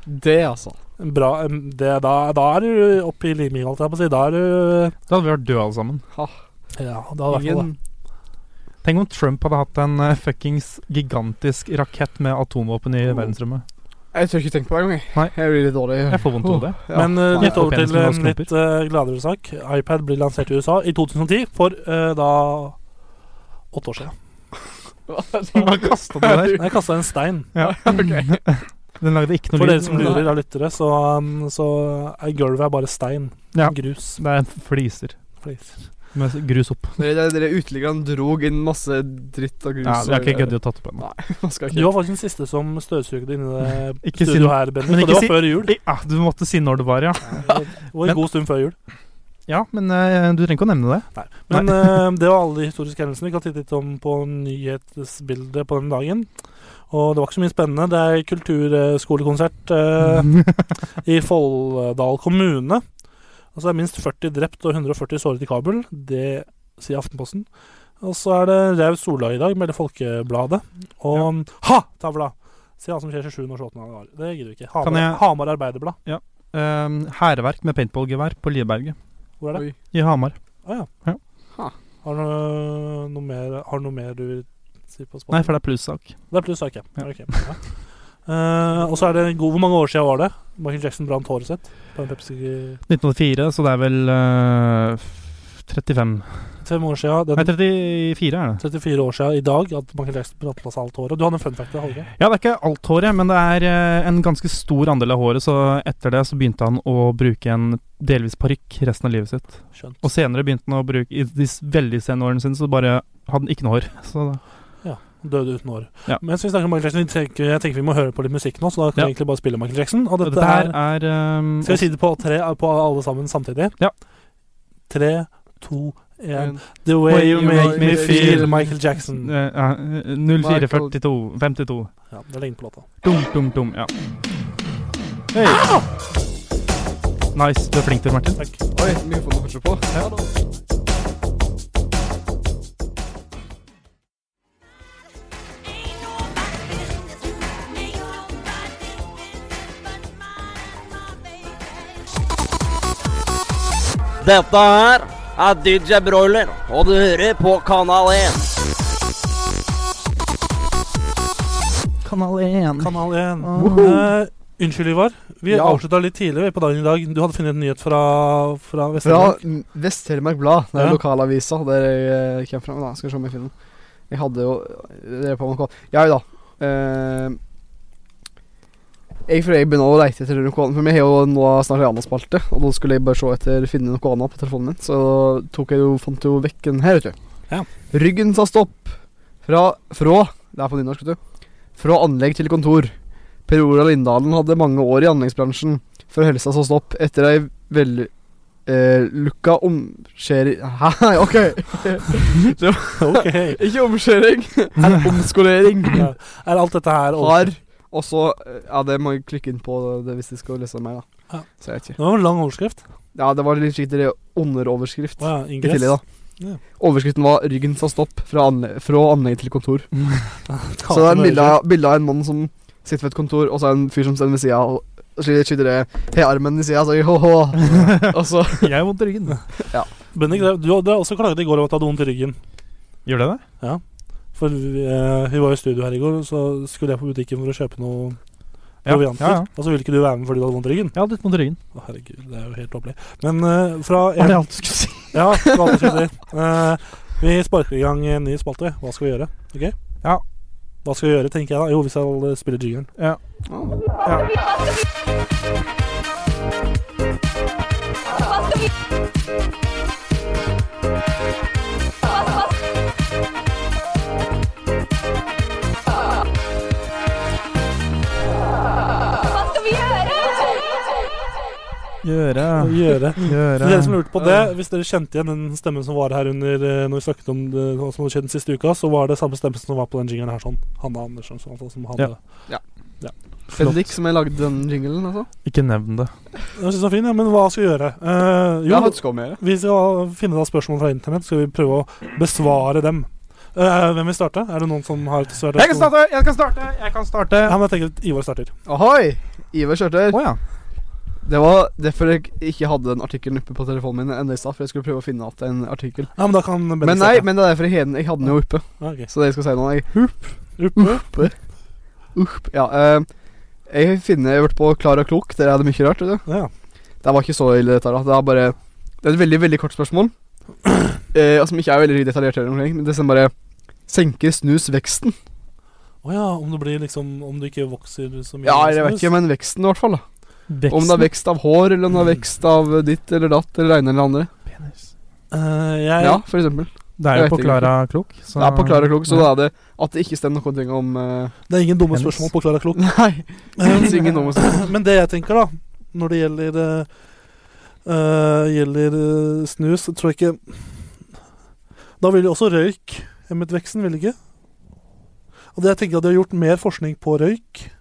Det, altså.
Bra, em, det, da, da er du oppe i liminga, holdt jeg på å si. Da er du
Da hadde vi vært døde alle sammen.
Ja, da er det.
Ingen
Tenk om Trump hadde hatt en eh, fuckings gigantisk rakett med atomvåpen i
Oh.
verdensrommet.
Jeg tør ikke tenke på det engang. jeg.
Nei.
Jeg blir litt dårlig.
Jeg får vondt i hodet.
Ja.
Men eh,
Nei,
litt over
penisen
til
med
en
skrumper.
litt eh, gladere sak. iPad blir lansert i USA i 2010, for eh, da åtte år siden.
Hva kasta du der?
Jeg kasta en stein.
Ja. Den lagde ikke
For
noe
dere
lyd.
som lurer av lyttere, så, um, så er gulvet er bare stein.
Ja.
Grus.
Det er en fliser
Please.
med grus opp.
Dere, dere uteliggerne drog inn masse dritt og grus.
Ja, vi har ikke
og-
giddet å tatt opp ennå.
Man skal
Du
ikke.
var faktisk den siste som støvsugde inni det
Ikke si
studioet
noe.
her, Bendik.
Men
Og det
ikke
var
si-
før jul.
Ja, ah, du måtte si når det var, ja.
Det var
Men-
en god stund før jul.
Ja, men eh, du trenger ikke å nevne det.
Men eh, det var alle de historiske hendelsene. Vi kan titte litt om på nyhetsbildet på den dagen. Og det var ikke så mye spennende. Det er kulturskolekonsert eh, i Folldal kommune. Og så er minst 40 drept og 140 såret i Kabul. Det sier Aftenposten. Og så er det Raus Solhaug i dag, melder Folkebladet. Og ha! Tavla! Se hva som skjer 27. og 28. januar. Det gidder vi ikke.
Kan
Hamar,
jeg-
Hamar Arbeiderblad.
Um, Hærverk med paintballgevær på Lieberget
Hvor er det?
Oi.
i Hamar.
Å
Ja.
ja.
Ha.
Har du noe mer, har du noe mer du sier på
Nei,
spalten?
for det er plussak.
Det er pluss, ok.
Ja.
Ok, ja. Eh, og så er det en god Hvor mange år siden var det? Michael Jackson brant håret sitt på en Pepsi
1904, så det er vel eh, 35
Fem år siden.
Nei,
Den
34 er det.
34 år siden i dag at Michael Jackson brant på seg alt håret. Du hadde en fun fact der, Holge.
Ja, det er ikke alt håret, men det er eh, en ganske stor andel av håret, så etter det så begynte han å bruke en delvis parykk resten av livet sitt.
Skjønt.
Og senere begynte han å bruke I de s- veldig sene årene sine så bare hadde han ikke noe hår. Så da
Døde uten hår.
Ja.
Mens vi snakker om Michael Jackson, vi tenker, jeg tenker vi må høre på litt musikk nå, så da kan
Ja.
vi egentlig bare spille Michael Jackson. Og
dette,
dette
her
er
er eh,
Skal vi si det på tre på alle sammen samtidig?
Ja.
Tre, to, én
En-
The way you make me feel, Michael Jackson.
eh, ja, eh, 0442 52
Ja, det ligner på låta.
Dum, dum, dum. Ja. Hei. Nice. Du er flink til det, Martin.
Takk.
Oi, mikrofonen fortsatt på.
Dette her er DJ Broiler, og du hører på Kanal 1.
Kanal 1.
Kanal 1.
Ah.
Eh, unnskyld, Ivar. Vi
Ja.
avslutta litt tidlig på dagen i dag. Du hadde funnet en nyhet fra, fra
Fra
Vest-Telemark.
Vest-Telemark Blad. Det er
Ja.
lokalavisa der jeg eh, kommer fra. Da. Skal vi se om jeg finner den. Jeg hadde jo eh, det er på noe. Jeg, da. Eh, jeg, for jeg begynner å leite etter noe annet. For vi har jo nå snart en annen spalte, og da skulle jeg bare se etter finne noe annet på telefonen min. Så tok jeg jo, fant jo vekk den her, vet du.
Ja.
Ryggen sa stopp. Fra, fra Det er på nynorsk, vet du. Fra anlegg til kontor. Per Ola Lindalen hadde mange år i anleggsbransjen før helsa sa stopp etter ei vel, eh, lukka omskjering Hæ, OK!
Ok.
Ikke omskjering, men omskolering.
Ja. Er alt dette her
Har Og så eh, Ja, det må jeg klikke inn på det hvis de skal lese mer, da.
Ja.
Så jeg vet ikke.
Det var en lang overskrift.
Ja, det var litt slik det underoverskrift
Å ja,
i
ingress.
tillegg, da.
Ja.
Overskriften var 'Ryggen sa stopp fra, anle fra anlegg til kontor'.
Ta
Så det er
til
bilde
Norge.
av- bilde av en mann som sitter ved et kontor, og så er det en fyr som står ved sida og skyter skyter det Har armen i sida, så jeg, ho-ho. og så
Jeg har vondt i ryggen.
Bendik, det- du hadde også klaget i går over at du hadde vondt i ryggen.
Gjør det det?
For vi, eh, vi var i studio her i går, så skulle jeg på butikken for å kjøpe noe
Ja,
provianter.
ja, ja.
Og så ville ikke du være med fordi du hadde vondt i ryggen.
Jeg hadde litt vondt i ryggen.
Å, herregud, det er jo helt tåpelig. Men eh, fra
Var det
en,
alt du skulle si?
Ja, det var alt jeg skulle si. Eh, vi sparker i gang en ny spalte. Hva skal vi gjøre? Ok?
Ja.
Hva skal vi gjøre, tenker jeg da? Jo, vi skal eh, spille jingeren.
Ja. Gjøre.
gjøre. Så
Eh.
Gjøre.
dere som lurte på det, Hvis dere kjente igjen den stemmen som var her under eh, Når vi snakket om det, hva som hadde skjedd den siste uka, så var det samme stemme som var på den jingeren her. sånn Hanna Andersen. Sånn, sånn, som hadde.
Ja.
Bendik som jeg lagde den jinglen, altså.
Ikke nevn det.
Jeg synes det var fin, ja, Men hva skal vi gjøre? Eh,
Jo,
jo,
jeg faktisk om å gjøre.
vi skal finne da spørsmål fra internett. Skal vi prøve å besvare dem. Eh, hvem vil starte? Er det noen som har et svært
Jeg kan starte! Jeg kan starte! Jeg kan starte!
Ja, men jeg tenker at Ivar starter.
Ahoi! Ivar Kjørtøy.
Å ja.
Det var derfor jeg ikke hadde den artikkelen oppe på telefonen min ennå i stad, for jeg skulle prøve å finne igjen en artikkel.
Ja, men da kan Bendik
Men nei,
starte.
men det er derfor jeg, hadde den- jeg hadde den jo oppe.
Ja, ok.
Så det jeg skal si nå jeg, Mm.
Uppe.
Urp, ja, eh, jeg finner Jeg har vært på Klar og klok. Dere hadde mye rart. vet du.
Ja.
Det var ikke så ille, dette her. da. Det er bare Det er et veldig veldig kort spørsmål. Eh, og som ikke er veldig detaljert, eller noe, men det som bare senker snus veksten.
Å ja, om det blir liksom Om du ikke vokser så mye?
Ja, jeg vet
snus.
ikke, men veksten i hvert fall. da
Veksten.
Om det er vekst av hår, eller om det er vekst av eh, ditt eller datt, eller det ene eller det andre.
Penis.
Eh, jeg,
Ja, for eksempel.
Det er
Jeg
jo
vet
på
ikke.
Klara Klok. Så
Det er på Klar og klok,
Ja.
så da er det at det ikke stemmer noen ting om eh,
Det er ingen dumme
Hennes.
spørsmål på Klara Klok.
Nei.
Eh,
Syng inn om oss.
Men det jeg tenker, da, når det gjelder eh, eh, Gjelder eh, snus, tror jeg ikke Da vil jo også røyk hemmet veksten, vil det ikke? Og det jeg tenker at de har gjort mer forskning på røyk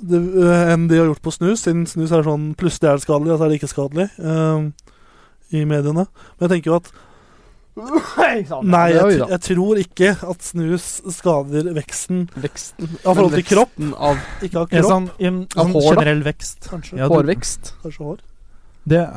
det, eh, enn de har gjort på snus, siden snus er sånn plutselig er det skadelig, og så er det ikke skadelig eh, i mediene. Men jeg tenker jo at Nei,
Det er
jeg,
jo
tr- jeg tror ikke at snus skader veksten
Veksten
av forhold
men
til kropp.
veksten Av
Ikke av
Ja,
kropp,
sånn, i en-
Av
sånn
hår, da?
generell vekst.
kanskje.
Ja, du-
hårvekst.
Kanskje hår.
Det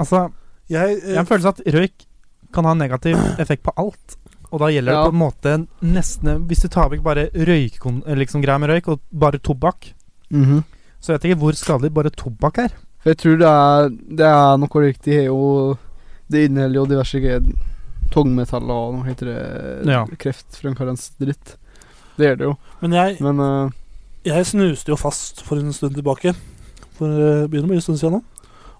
Altså,
Jeg, eh,
jeg har en følelse av at røyk kan ha negativ effekt på alt. Og da gjelder
Ja.
det på en måte nesten Hvis du tar vekk bare røykekon- liksom greier med røyk, og bare tobakk, så jeg vet ikke hvor skadelig bare tobakk er.
For jeg tror det er, det er noe riktig er jo Det inneholder jo diverse gre- tungmetaller og noe heter det
Ja.
Kreftfremkallende dritt. Det gjør det jo.
men jeg,
Men eh,
jeg snuste jo fast for en stund tilbake. For eh, det begynner å bli en stund siden nå.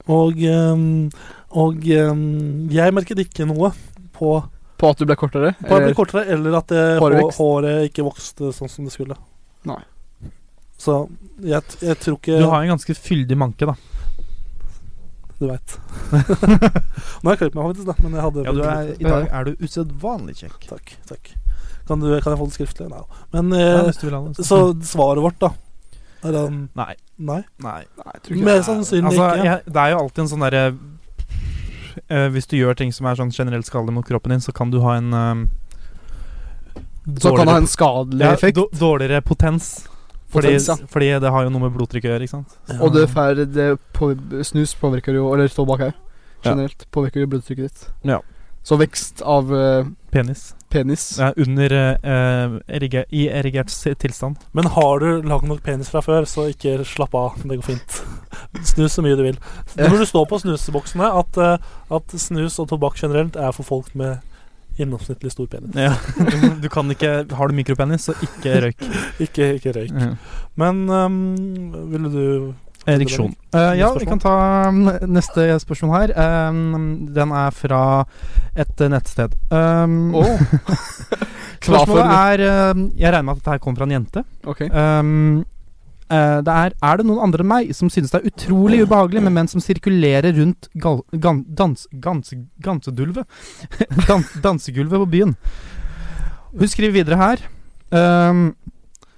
Og, eh, og eh, jeg merket ikke noe på,
på at du ble kortere?
på at det
eller-
ble kortere, eller at det, hår,
Hårvekst?
håret ikke vokste sånn som det skulle.
Nei.
Så jeg, t- jeg tror ikke
Du har en ganske fyldig manke, da.
Du veit. Nå har jeg klippet meg, faktisk, da, men jeg hadde
I dag er du usedvanlig kjekk.
Takk. takk. Kan, du, kan jeg få det skriftlig? Nei da. Men
Ja,
eh,
hvis du vil ha det.
Så svaret vårt, da er han
Nei.
nei?
Nei.
Nei, jeg tror ikke
Mer
det.
sannsynlig
Altså,
ikke.
jeg, det er jo alltid en sånn derre eh, Hvis du gjør ting som er sånn generelt skadelig mot kroppen din, så kan du ha en eh,
Så kan det
dårligere-
ha en skadelig
Ja,
effekt.
då- Dårligere potens. Fordi,
Potens, ja.
fordi det har jo noe med blodtrykk å gjøre, ikke sant?
Ja.
Og det, fær, det på, snus påvirker jo Eller tobakk her generelt påvirker jo blodtrykket ditt.
Ja.
Så vekst av eh,
Penis.
penis
Ja, under eh, erige, I erigert s- tilstand.
Men har du lang nok penis fra før, så ikke slapp av. Det går fint. Snus så mye du vil. Det burde stå på snuseboksene at, eh, at snus og tobakk generelt er for folk med gjennomsnittlig stor penis.
Ja. Du kan ikke Har du mikropenis, så ikke røyk.
Ikke, ikke røyk.
Ja.
Men ehm, ville du
Ereksjon.
Neste
Eh, ja, vi
spørsmål.
kan ta mm, neste spørsmål her. Eh, den er fra et eh, nettsted. Um,
Åh,
spørsmålet er eh, Jeg regner med at dette her kommer fra en jente.
Ok.
Um, eh, det er Er det noen andre enn meg som synes det er utrolig ubehagelig med menn som sirkulerer rundt gal, gan, dans, gans, gansedulvet dan, Dansegulvet på byen? Hun skriver videre her um,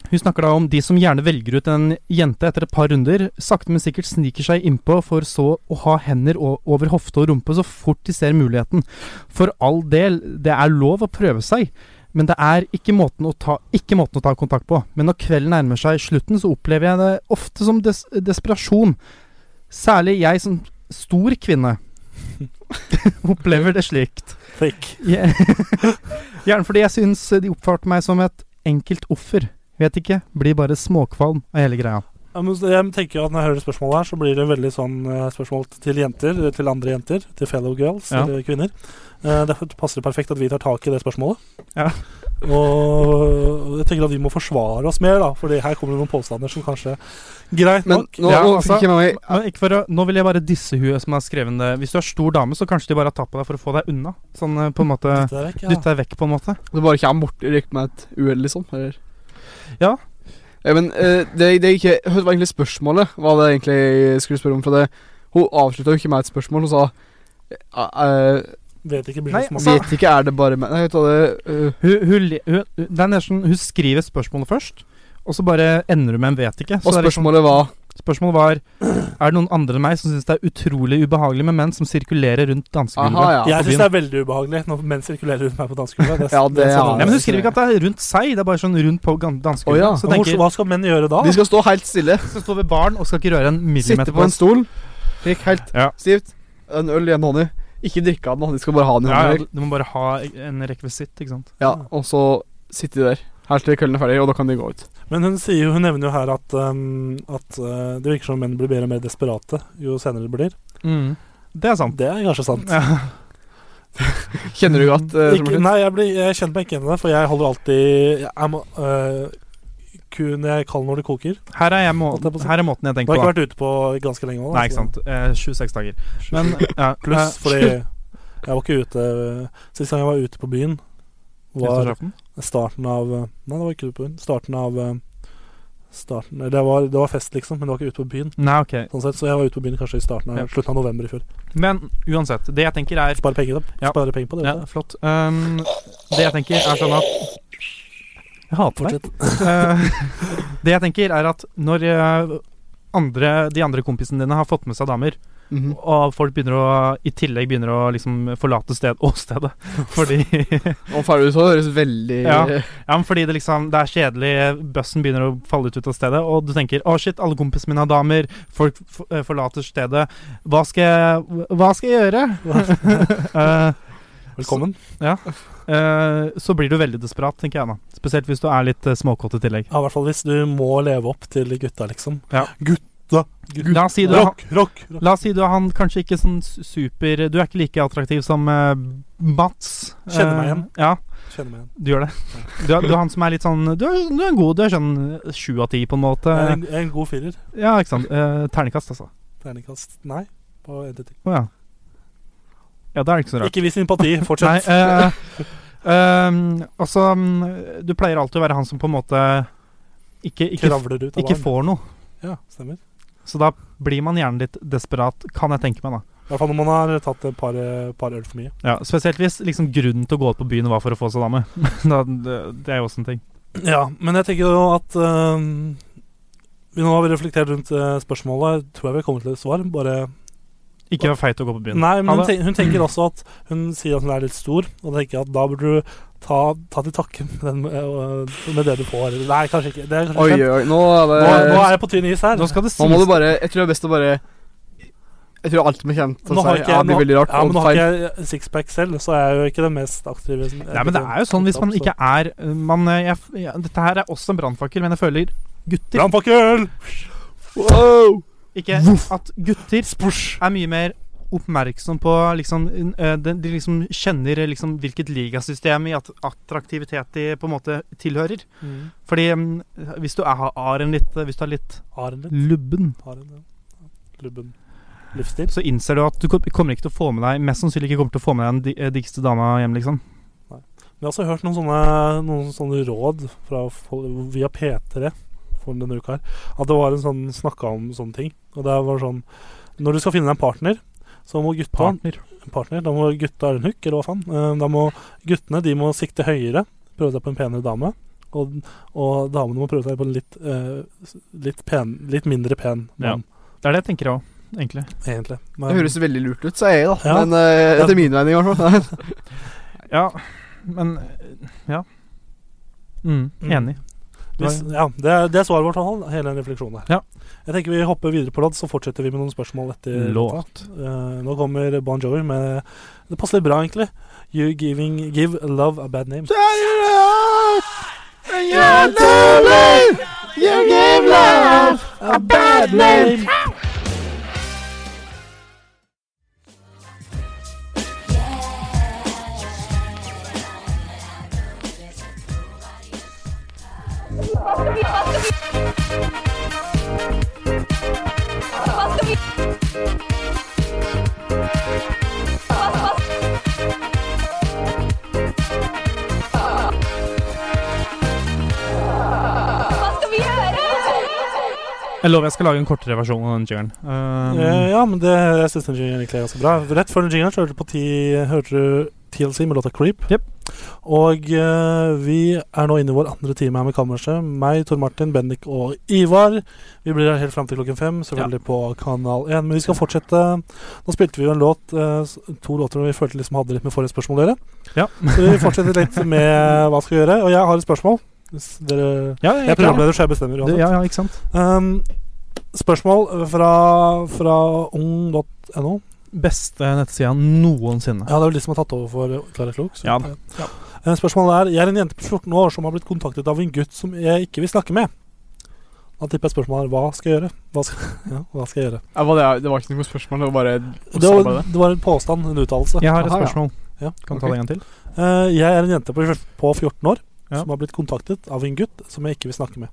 Hun snakker da om de som gjerne velger ut en jente etter et par runder, sakte, men sikkert sniker seg innpå for så å ha hender o- over hofte og rumpe så fort de ser muligheten. For all del, det er lov å prøve seg. Men det er ikke måten, å ta, ikke måten å ta kontakt på. Men når kvelden nærmer seg slutten, så opplever jeg det ofte som des desperasjon. Særlig jeg som stor kvinne opplever det slikt.
Fake.
Jeg- Gjerne fordi jeg syns de oppførte meg som et enkelt offer. Vet ikke. Blir bare småkvalm av hele greia.
Ja, men så Jeg tenker jo at Når jeg hører spørsmålet her, så blir det veldig sånn eh, spørsmål til jenter, til andre jenter, til fellow girls,
Ja.
eller kvinner. Eh, Derfor passer det perfekt at vi tar tak i det spørsmålet.
Ja.
Og jeg tenker at vi må forsvare oss mer, da, Fordi her kommer det noen påstander som kanskje Greit
Men
nok.
nå,
Ja,
nå
altså-
fikk jeg med meg
Men ikke for å, nå vil jeg bare disse huet som har skrevet det. Hvis du er stor dame, så kanskje de bare har tatt på deg for å få deg unna. Sånn eh, på en måte
Det er vekk, ja.
Dytte deg vekk, på en måte.
Det bare kommer borti riktig med et uhell, liksom. Eller?
Ja.
Jeg Eh, Men eh, det, det gikk, jeg hørte var egentlig spørsmålet, hva det egentlig jeg skulle spørre om. For det, hun avslutta jo ikke med et spørsmål. Hun sa eh, eh,
Vet ikke, blir
Nei,
det smak.
altså-
Vet ikke, er det bare meg Nei, vet du hva det eh,
Hun, hun, le- hun, hun, det er nesten, hun skriver spørsmålet først, og så bare ender hun med en 'vet ikke'. Så
Og
det er liksom-
spørsmålet var
Spørsmålet var Er det noen andre enn meg som syns det er utrolig ubehagelig med menn som sirkulerer rundt
Aha,
dansegulvet?
ja.
jeg
byen.
syns det er veldig ubehagelig når menn sirkulerer rundt meg på dansegulvet. Det,
Ja, det
er
er-
sånn,
Nei, men Hun skriver ikke at det er rundt seg, det er bare sånn rundt på gan- dansegulvet.
Å, ja.
Så
Men hvor-
tenker
Hva skal menn gjøre da?
De skal stå helt stille,
skal stå ved baren og skal ikke røre en millimeter
sitte på en stol. Drikk helt
Ja.
stivt. En øl i en hånd i. Ikke drikke av den, de skal bare ha den i
ja, ja,
hånda.
Du må bare ha en rekvisitt, ikke sant.
Ja, og så sitte de der helt til kvelden er ferdig, og da kan de gå ut.
Men hun, sier, hun nevner jo her at, um, at uh, det virker som menn blir mer og mer desperate jo senere det blir. Mm.
Det er sant.
Det er kanskje sant.
Ja.
Kjenner du godt eh,
Ikke,
Trond Martin?
nei, jeg, blir, jeg kjenner meg ikke igjen i det, for jeg holder alltid jeg må, øh, Kun jeg er kald når det koker.
Her, er jeg må,
Holdt jeg på å si.
her er måten jeg
Nå har
tenker
jeg
på.
ikke vært ute på ganske lenge nå.
da.
da,
Nei, ikke
så-
sant. Eh, 26 dager. Men ja,
Pluss
eh,
fordi jeg var ikke ute Sist gang jeg var ute på byen,
eh,
var
nyttårsaften.
starten av eh, Nei, det var ikke ute på byen. Starten av eh, Starten eller Det var, det var fest, liksom, men det var ikke ute på byen.
Nei, ok.
Sånn sett, så jeg var ute på byen kanskje i starten av
Ja.
slutten av november i fjor.
Men uansett. Det jeg tenker er
Spare penger, da.
Ja.
Spare penger på det.
ja,
vet du.
Flott. Um, det jeg tenker, er sånn at Jeg hater deg.
Fortsett.
Eh, det jeg tenker er at når eh, andre, de andre kompisene dine har fått med seg damer,
Mhm.
og folk begynner å i tillegg begynner å liksom forlate sted åstedet fordi, ja,
Og ferdig ut, så høres veldig
Ja. men fordi det liksom Det er kjedelig, bussen begynner å falle ut ut av stedet, og du tenker 'Å, shit, alle kompisene mine har damer, folk f eh, forlater stedet. Hva skal jeg, hva skal jeg gjøre?' Eh,
Velkommen.
eh, så blir du veldig desperat, tenker jeg da. Spesielt hvis du er litt eh, småkåt i tillegg.
Ja, I hvert fall hvis du må leve opp til gutta, liksom.
Ja.
Gutta! gutta.
La oss si du har-
rock, rock, rock!
La oss si du er han kanskje ikke sånn s- super Du er ikke like attraktiv som eh, Mats.
Kjenner
Eh,
meg igjen.
ja,
Kjenner meg igjen.
du gjør det. Du er, du er han som er litt sånn Du er, du er en god, du er sånn sju av ti, på en måte.
Jeg er en, jeg er en god firer.
Ja, ikke sant. Eh, ternekast, altså.
Terningkast nei på NTT.
Å ja. Ja, da er det ikke så rart.
Ikke vis sympati,
Nei,
fortsett.
eh, ehm, altså mm, Du pleier alltid å være han som på en måte ikke, ikke,
Kravler ut av
ikke
baren.
får noe.
Ja, stemmer.
Så da blir man gjerne litt desperat, kan jeg tenke meg, da.
I hvert fall når man har tatt et par, eh, par øl for mye.
Ja, spesielt hvis liksom, grunnen til å gå ut på byen var for å få seg dame. da, det, det er jo også en ting.
Ja, men jeg tenker jo at øhm, vi Nå har vi reflektert rundt eh, spørsmålet. Tror jeg vi kommer til et svar. Bare
Ikke vær feit å gå på byen.
Nei, men
Ha
hun,
det.
tenk, hun tenker også at Hun sier at hun er litt stor, og da tenker jeg at da burde du ta, ta til takke med, den, øh, med det du får. Nei, kanskje ikke. Det er kanskje
Oi,
slemt.
oi, nå er det
nå, nå er jeg på tynn is her.
Nå skal det
Nå må du
sies
bare Jeg tror det er best å bare Jeg tror alt vi kommer til
Nå
å
har
si,
ikke
ja,
jeg-
blir veldig rart
Ja, men
og
nå har
feil.
ikke jeg sixpack selv, så jeg er jo ikke den mest aktive. som-
Nei, men det er jo sånn hvis man ikke er man, eh, jeg, ja, Dette her er også en brannfakkel, men jeg føler gutter
Brannfakkel!
Wow!
Ikke at gutter er mye mer oppmerksom på liksom eh, De, de liksom kjenner eh, liksom hvilket ligasystem i at attraktivitet de på en måte tilhører.
Mm.
Fordi mm, hvis du er, har en litt Hvis du er litt
Har en litt.
lubben,
Har en, ja. Lubben livsstil.
så innser du at du kom- kommer ikke til å få med deg Mest sannsynlig ikke kommer til å få med deg den di- eh, diggeste dama hjem, liksom.
Vi har også hørt noen sånne, noen sånne råd fra, fol- via P3 for denne uka her. At det var en sånn snakka om sånne ting. Og det var sånn Når du skal finne deg en partner, så må gutta
Partner.
partner. Da må gutta er en hook, eller hva faen. Eh, Da må guttene de må sikte høyere, prøve seg på en penere dame. Og, og damene må prøve seg på en litt, eh, s- litt, pen, litt mindre pen mann,
Det er det jeg tenker òg, egentlig.
egentlig. Men-
Det høres veldig lurt ut, sier jeg, da.
Ja.
Men eh, etter min mening, i hvert fall.
Ja, men eh, Ja. Mm,
Mm.
enig.
hvis, ja, det, er- det er svaret vårt, i hvert fall, hele den refleksjonen
Ja.
her. Jeg tenker vi hopper videre på lodd, så fortsetter vi med noen spørsmål etter låta.
Låt.
Eh, nå kommer Bon Jovi med Det passer litt bra, egentlig. You giving, give love a bad name. A bad name!
Hva skal vi gjøre?
Jeg lover jeg skal lage en kortere versjon av den jingeren. Um,
Eh, ja, men det, jeg syns den jingeren egentlig er ganske bra. Rett før den jingeren så hørte du på ti, hørte du TLC med låta 'Creep'.
Jep.
Og eh, vi er nå inne i vår andre time her med Kammerset. Meg, Tor Martin, Bendik og Ivar. Vi blir her helt fram til klokken fem, selvfølgelig på Kanal 1. Men vi skal fortsette. Nå spilte vi jo en låt, eh, s- to låter hvor vi følte liksom hadde litt med forrige spørsmål å gjøre.
Ja.
Så vi fortsetter litt med hva skal vi gjøre. Og jeg har et spørsmål. Hvis dere,
ja,
jeg er programleder, så jeg bestemmer
Det- Ja, ja, ikke sant.
Um, spørsmål fra, fra ung.no.
Beste nettsida noensinne.
Ja, det er vel de som har tatt over for Klara Klok. så-
Ja.
Ja. Eh, Spørsmålet er Jeg er en jente på 14 år som har blitt kontaktet av en gutt som jeg ikke vil snakke med. Da tipper jeg spørsmålet er hva skal jeg gjøre? Hva skal, ja, hva skal jeg gjøre?
Ja, hva det, er, det var ikke noe spørsmål, det var bare
Det var, det var en påstand, en uttalelse.
Jeg har et
Aha, ja.
spørsmål.
Ja,
Kan ta
ok.
det en gang til.
Eh, jeg er en jente på, på 14 år
Ja.
som har blitt kontaktet av en gutt som jeg ikke vil snakke med.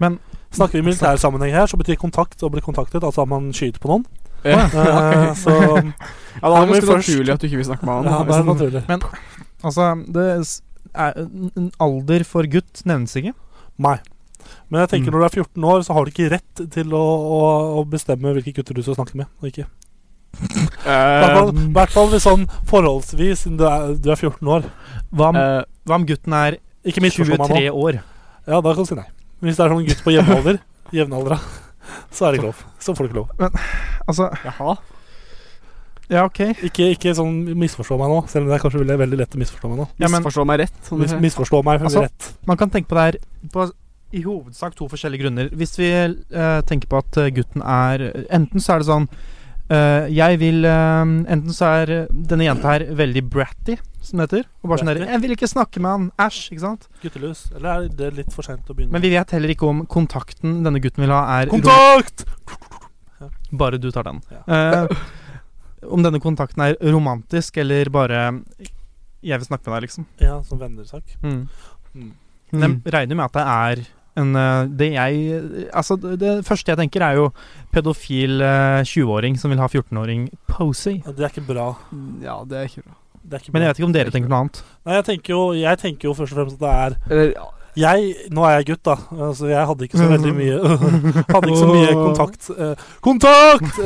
Men-
Snakker vi i militær sammenheng her, så betyr kontakt å bli kontaktet altså at man skyter på noen.
Ja,
Eh, så
ja da er det
men
ganske
først-
naturlig at du ikke vil snakke med han. Liksom.
Ja, det
hvis
er
han-
naturlig.
Altså, det s- er, n- n- alder for gutt nevnes ikke.
Nei. Men jeg tenker
Mm.
når du er 14 år, så har du ikke rett til å, å, å bestemme hvilke gutter du skal snakke med. og ikke.
Eh,
I hvert fall- i hvert fall hvis sånn forholdsvis siden du er, du er 14 år. Eh,
Hva om,
Eh, eh,
hva om gutten er
Ikke misforstå meg nå.
23 år?
Ja, da kan du si nei. Hvis det er sånn gutt på jevnalder, jevnaldra, så er det ikke lov. Så får du ikke lov.
Altså,
Jaha.
ja, OK.
Ikke, ikke sånn misforstå meg nå, selv om det er kanskje veldig, veldig lett å misforstå meg nå.
Ja, men-
Misforstå meg rett. Sånn,
Mis, misforstå meg
Altså-
rett.
Man kan tenke på det her på, i hovedsak to forskjellige grunner. Hvis vi eh, tenker på at eh, gutten er Enten så er det sånn eh, Jeg vil eh, Enten så er eh, denne jenta her veldig bratty, som det heter. Og bare sånn der
Bratty?
'Jeg vil ikke snakke med han. Æsj.' Ikke sant?
Gutteløs. Eller er det litt for seint å begynne?
Men vi vet heller ikke om kontakten denne gutten vil ha, er
Kontakt!
rom- Bare du tar den. Eh, om denne kontakten er romantisk eller bare 'Jeg vil snakke med deg', liksom.
Ja, sånn vennersak.
Mm.
Mm.
Men jeg regner med at det er en eh, Det jeg Altså, det, det første jeg tenker, er jo pedofil eh, 20-åring som vil ha 14-åring posy.
Ja, Det er ikke bra.
Ja, det er ikke bra.
Det er
Men
ikke bra.
jeg vet ikke om dere tenker noe annet.
Nei, jeg tenker, jo, jeg tenker jo først og fremst at det er
Eller ja,
Jeg, nå er jeg gutt, da, eh, så jeg hadde
Mm.
ikke så veldig mye Hadde ikke så mye kontakt. eh, kontakt!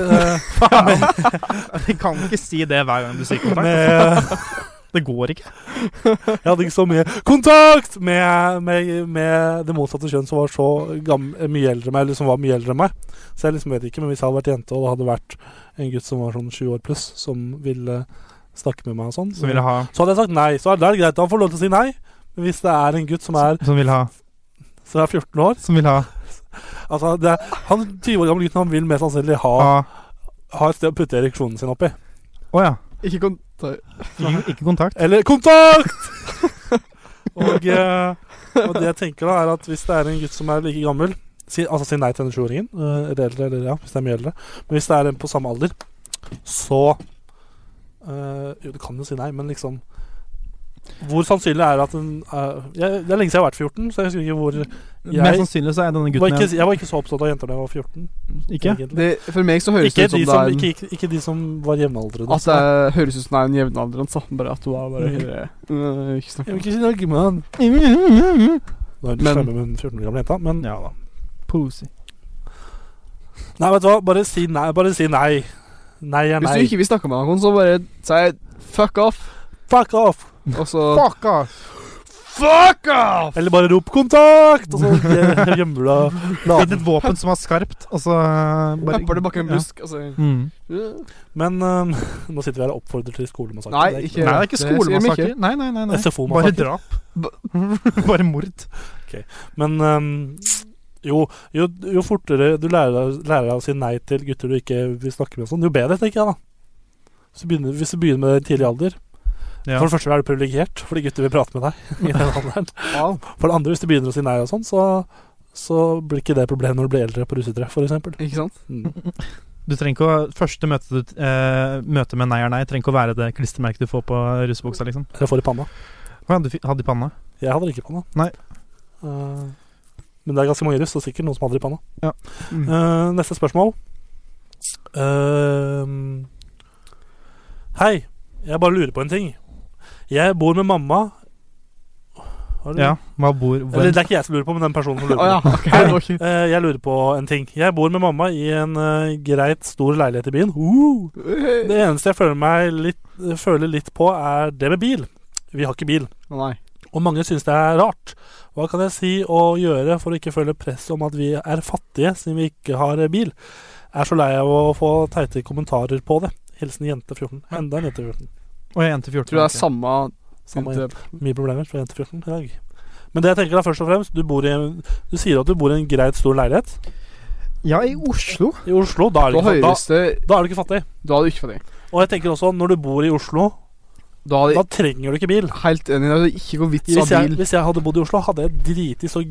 eh,
Vi kan ikke si det hver gang du sier kontakt.
med,
Det går ikke.
jeg hadde ikke så mye kontakt med, med, med det motsatte kjønn som var så gam- mye eldre enn meg, eller som var mye eldre enn meg. Så jeg liksom vet ikke, men hvis jeg hadde vært jente, og det hadde vært en gutt som var sånn 20 år pluss, som ville snakke med meg og sånn,
Som vil ha
så hadde jeg sagt nei. Så da er det greit, da får jeg lov til å si nei. Men hvis det er en gutt som er,
Som vil ha
som er 14 år
Som vil ha
altså det er, Han 20 år gamle gutten han vil mest sannsynlig ha
ha
ha et sted å putte ereksjonen sin oppi.
ah, Å ja.
ikke kontakt
Ikke, ikke kontakt.
Eller kontakt! og, eh, og det jeg tenker da, er at hvis det er en gutt som er like gammel si, Altså si nei til denne sjuåringen, eh, eller eldre, eller ja, hvis det er mye eldre. Men hvis det er en på samme alder, så eh, Jo, du kan jo si nei, men liksom Hvor sannsynlig er det at en eh, jeg, Det er lenge siden jeg har vært 14, så jeg husker ikke hvor
Mest
jeg,
sannsynlig så er denne
var
gutten
ikke, jeg var ikke så opptatt av jenter da jeg var 14.
en- ikke?
egentlig.
det, For meg så høres
Ikke
det
de
ut som det
som,
er en
ikke, ikke, ikke de som var jevnaldrende.
At det er, høres ut som det er en jevnaldrende. da. Bare at hun er bare
Mhm.
hele- Øh, Ikke snakk
Jeg vil ikke si noe, mann. Nå er det
Men-
slemme med den 14 år gamle jenta, men
Ja da. Posy.
Nei, vet du hva, bare si nei. Bare si nei. Nei er
Hvis
nei.
du ikke vil snakke med noen, så bare si fuck off,
Fuck off!
og så
Fuck off!
Fuck off!
Eller bare rop 'kontakt', og så gje- gjemmer du deg.
Finn et våpen som er skarpt, og så eh, bare
Napper det bak en busk, altså.
Mm.
Men øhm, nå sitter vi her og oppfordrer til skolemassakre.
Nei,
Det
Nei,
er
det
Ja,
er ikke
det sier de
skolemassakre.
ikke.
Nei, nei, nei, nei. Bare
SFO-massakre.
drap. Bare mord.
Men øhm, jo, jo, jo fortere du lærer, deg- lærer deg å si nei til gutter du ikke vil snakke med, og sånn, jo bedre, tenker jeg da. Hvis du begynner, hvis du begynner med det i tidlig alder.
Ja.
For det første er du privilegert, fordi gutter vil prate med deg. i den alderen.
Wow.
For det andre, hvis du begynner å si nei og sånn, så, så blir ikke det et problem når du blir eldre på russetre, f.eks.
Ikke sant?
Mm.
Du trenger ikke å, Første møte, du, eh, møte med nei er nei trenger ikke å være det klistremerket du får på russebuksa, liksom.
Eller får i panna.
Hva hadde du fi- hadde i panna?
Jeg hadde det ikke i panna.
Nei.
Eh, men det er ganske mange russ, og sikkert noen som hadde det i panna.
Ja.
Mm.
Eh, neste spørsmål. Ehm, hei, jeg bare lurer på en ting. Jeg bor med mamma Har du-
Ja, hva bor hvor?
Eller det er ikke jeg som lurer på, men den personen som lurer
Å
på.
ja, ok. det var ikke-
Eh, jeg lurer på en ting. Jeg bor med mamma i en eh, greit stor leilighet i byen. Uh! Det eneste jeg føler, meg litt, føler litt på, er det med bil. Vi har ikke bil,
Å nei.
og mange syns det er rart. Hva kan jeg si og gjøre for å ikke føle press om at vi er fattige siden vi ikke har eh, bil? Er så lei av å få teite kommentarer på det. Hilsen jente 14. Enda en jente 14.
Og jeg endte 14.
Tror
ok.
det er samme
Samme jente. Mye problemer for jente 14 i dag. Men det jeg tenker da først og fremst, du, bor i en, du sier at du bor i en greit stor leilighet.
Ja, i Oslo.
I Oslo, da er det
På
ikke, da,
høyeste
da er du ikke fattig.
Da hadde du ikke fått det.
Og jeg tenker også, når du bor i Oslo,
Da hadde
da trenger du ikke bil.
Helt enig. Det er ikke noe vits å
Hvis
ha
jeg,
bil.
hvis jeg hadde bodd i Oslo, hadde jeg driti så